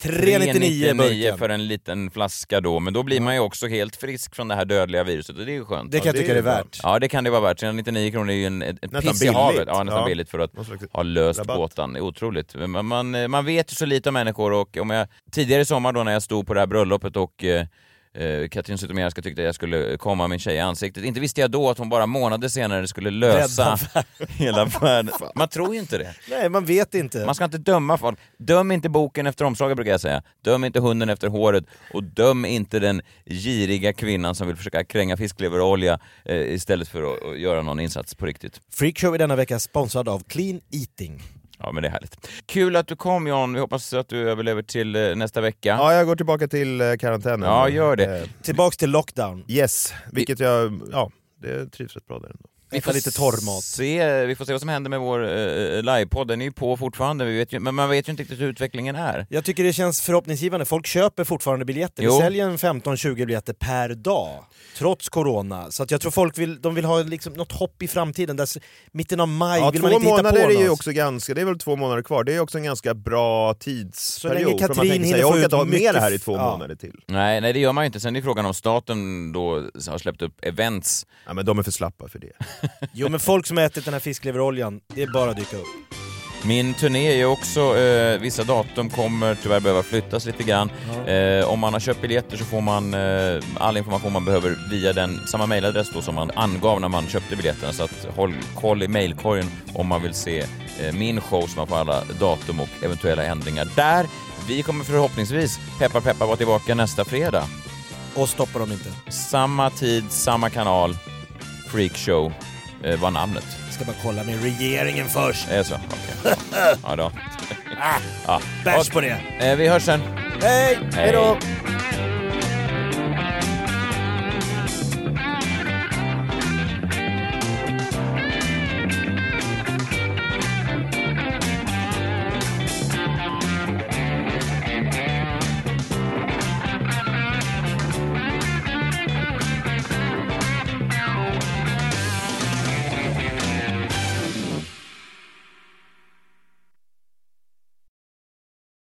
399 burken.
för en liten flaska då, men då blir man ju också helt frisk från det här dödliga viruset och det är ju skönt.
Det kan jag Ja, det tycka är det är bra. värt.
Ja, det kan det vara värt. 399 kronor är ju en, ett, ett
Nästan
piss i havet.
billigt.
Ja, nästan
Ja.
billigt för att
Någon slags
ha löst
rabatt.
gåtan. Det är Otroligt. Men Man, man, man vet ju så lite om människor och om jag, tidigare i sommar då när jag stod på det här bröllopet och eh, eh, Katrin Zytomierska tyckte jag skulle komma min tjej i ansiktet. Inte visste jag då att hon bara månader senare skulle lösa hela världen. Man tror ju inte det.
Nej, man vet inte.
Man ska inte döma folk. Döm inte boken efter omslaget brukar jag säga. Döm inte hunden efter håret och döm inte den giriga kvinnan som vill försöka kränga fiskleverolja eh, istället för att, att göra någon insats på riktigt.
Freakshow är denna vecka sponsrad av Clean Eating.
Ja men det är härligt. Kul att du kom John, vi hoppas att du överlever till eh, nästa vecka.
Ja, jag går tillbaka till eh, karantänen.
Ja, gör det.
Eh,
Tillbaks till lockdown.
Yes, vilket jag... Ja, det trivs rätt bra där ändå.
Äta lite torrmat.
Se, vi får se vad som händer med vår eh, livepodd, den är ju på fortfarande, vi vet ju, men man vet ju inte riktigt hur utvecklingen är.
Jag tycker det känns förhoppningsgivande. Folk köper fortfarande biljetter.
Jo.
Vi säljer en 15-20 biljetter per dag, trots corona. Så att jag tror folk vill, de vill ha liksom något hopp i framtiden. Där, s- mitten av maj
Ja,
vill
två
man inte hitta på
månader är ju
något.
också ganska, det är väl två månader kvar, det är också en ganska bra tidsperiod.
länge
för man
Katrin
tänker sig,
hinner
jag
få
orkar
ut
inte ha med
mycket
det här i
f-
två
ja.
månader till.
Nej, nej det gör man ju inte. Sen är frågan om staten då har släppt upp events.
Ja men de är för slappa för det.
Jo men folk som har ätit den här fiskleveroljan, det är bara att dyka upp.
Min turné är ju också, eh, vissa datum kommer tyvärr behöva flyttas lite grann. Eh, om man har köpt biljetter så får man eh, all information man behöver via den, samma mejladress då som man angav när man köpte biljetterna. Så att håll koll i mejlkorgen om man vill se eh, min show så man får alla datum och eventuella ändringar där. Vi kommer förhoppningsvis, peppar peppar, vara tillbaka nästa fredag.
Och stoppar dem inte.
Samma tid, samma kanal, Freakshow eh, var namnet.
Jag ska bara kolla med regeringen först.
Är det så? Okej. Ja då.
Ah,
Ja.
Bärs på det.
Eh, vi hörs sen.
Hej!
Hej då!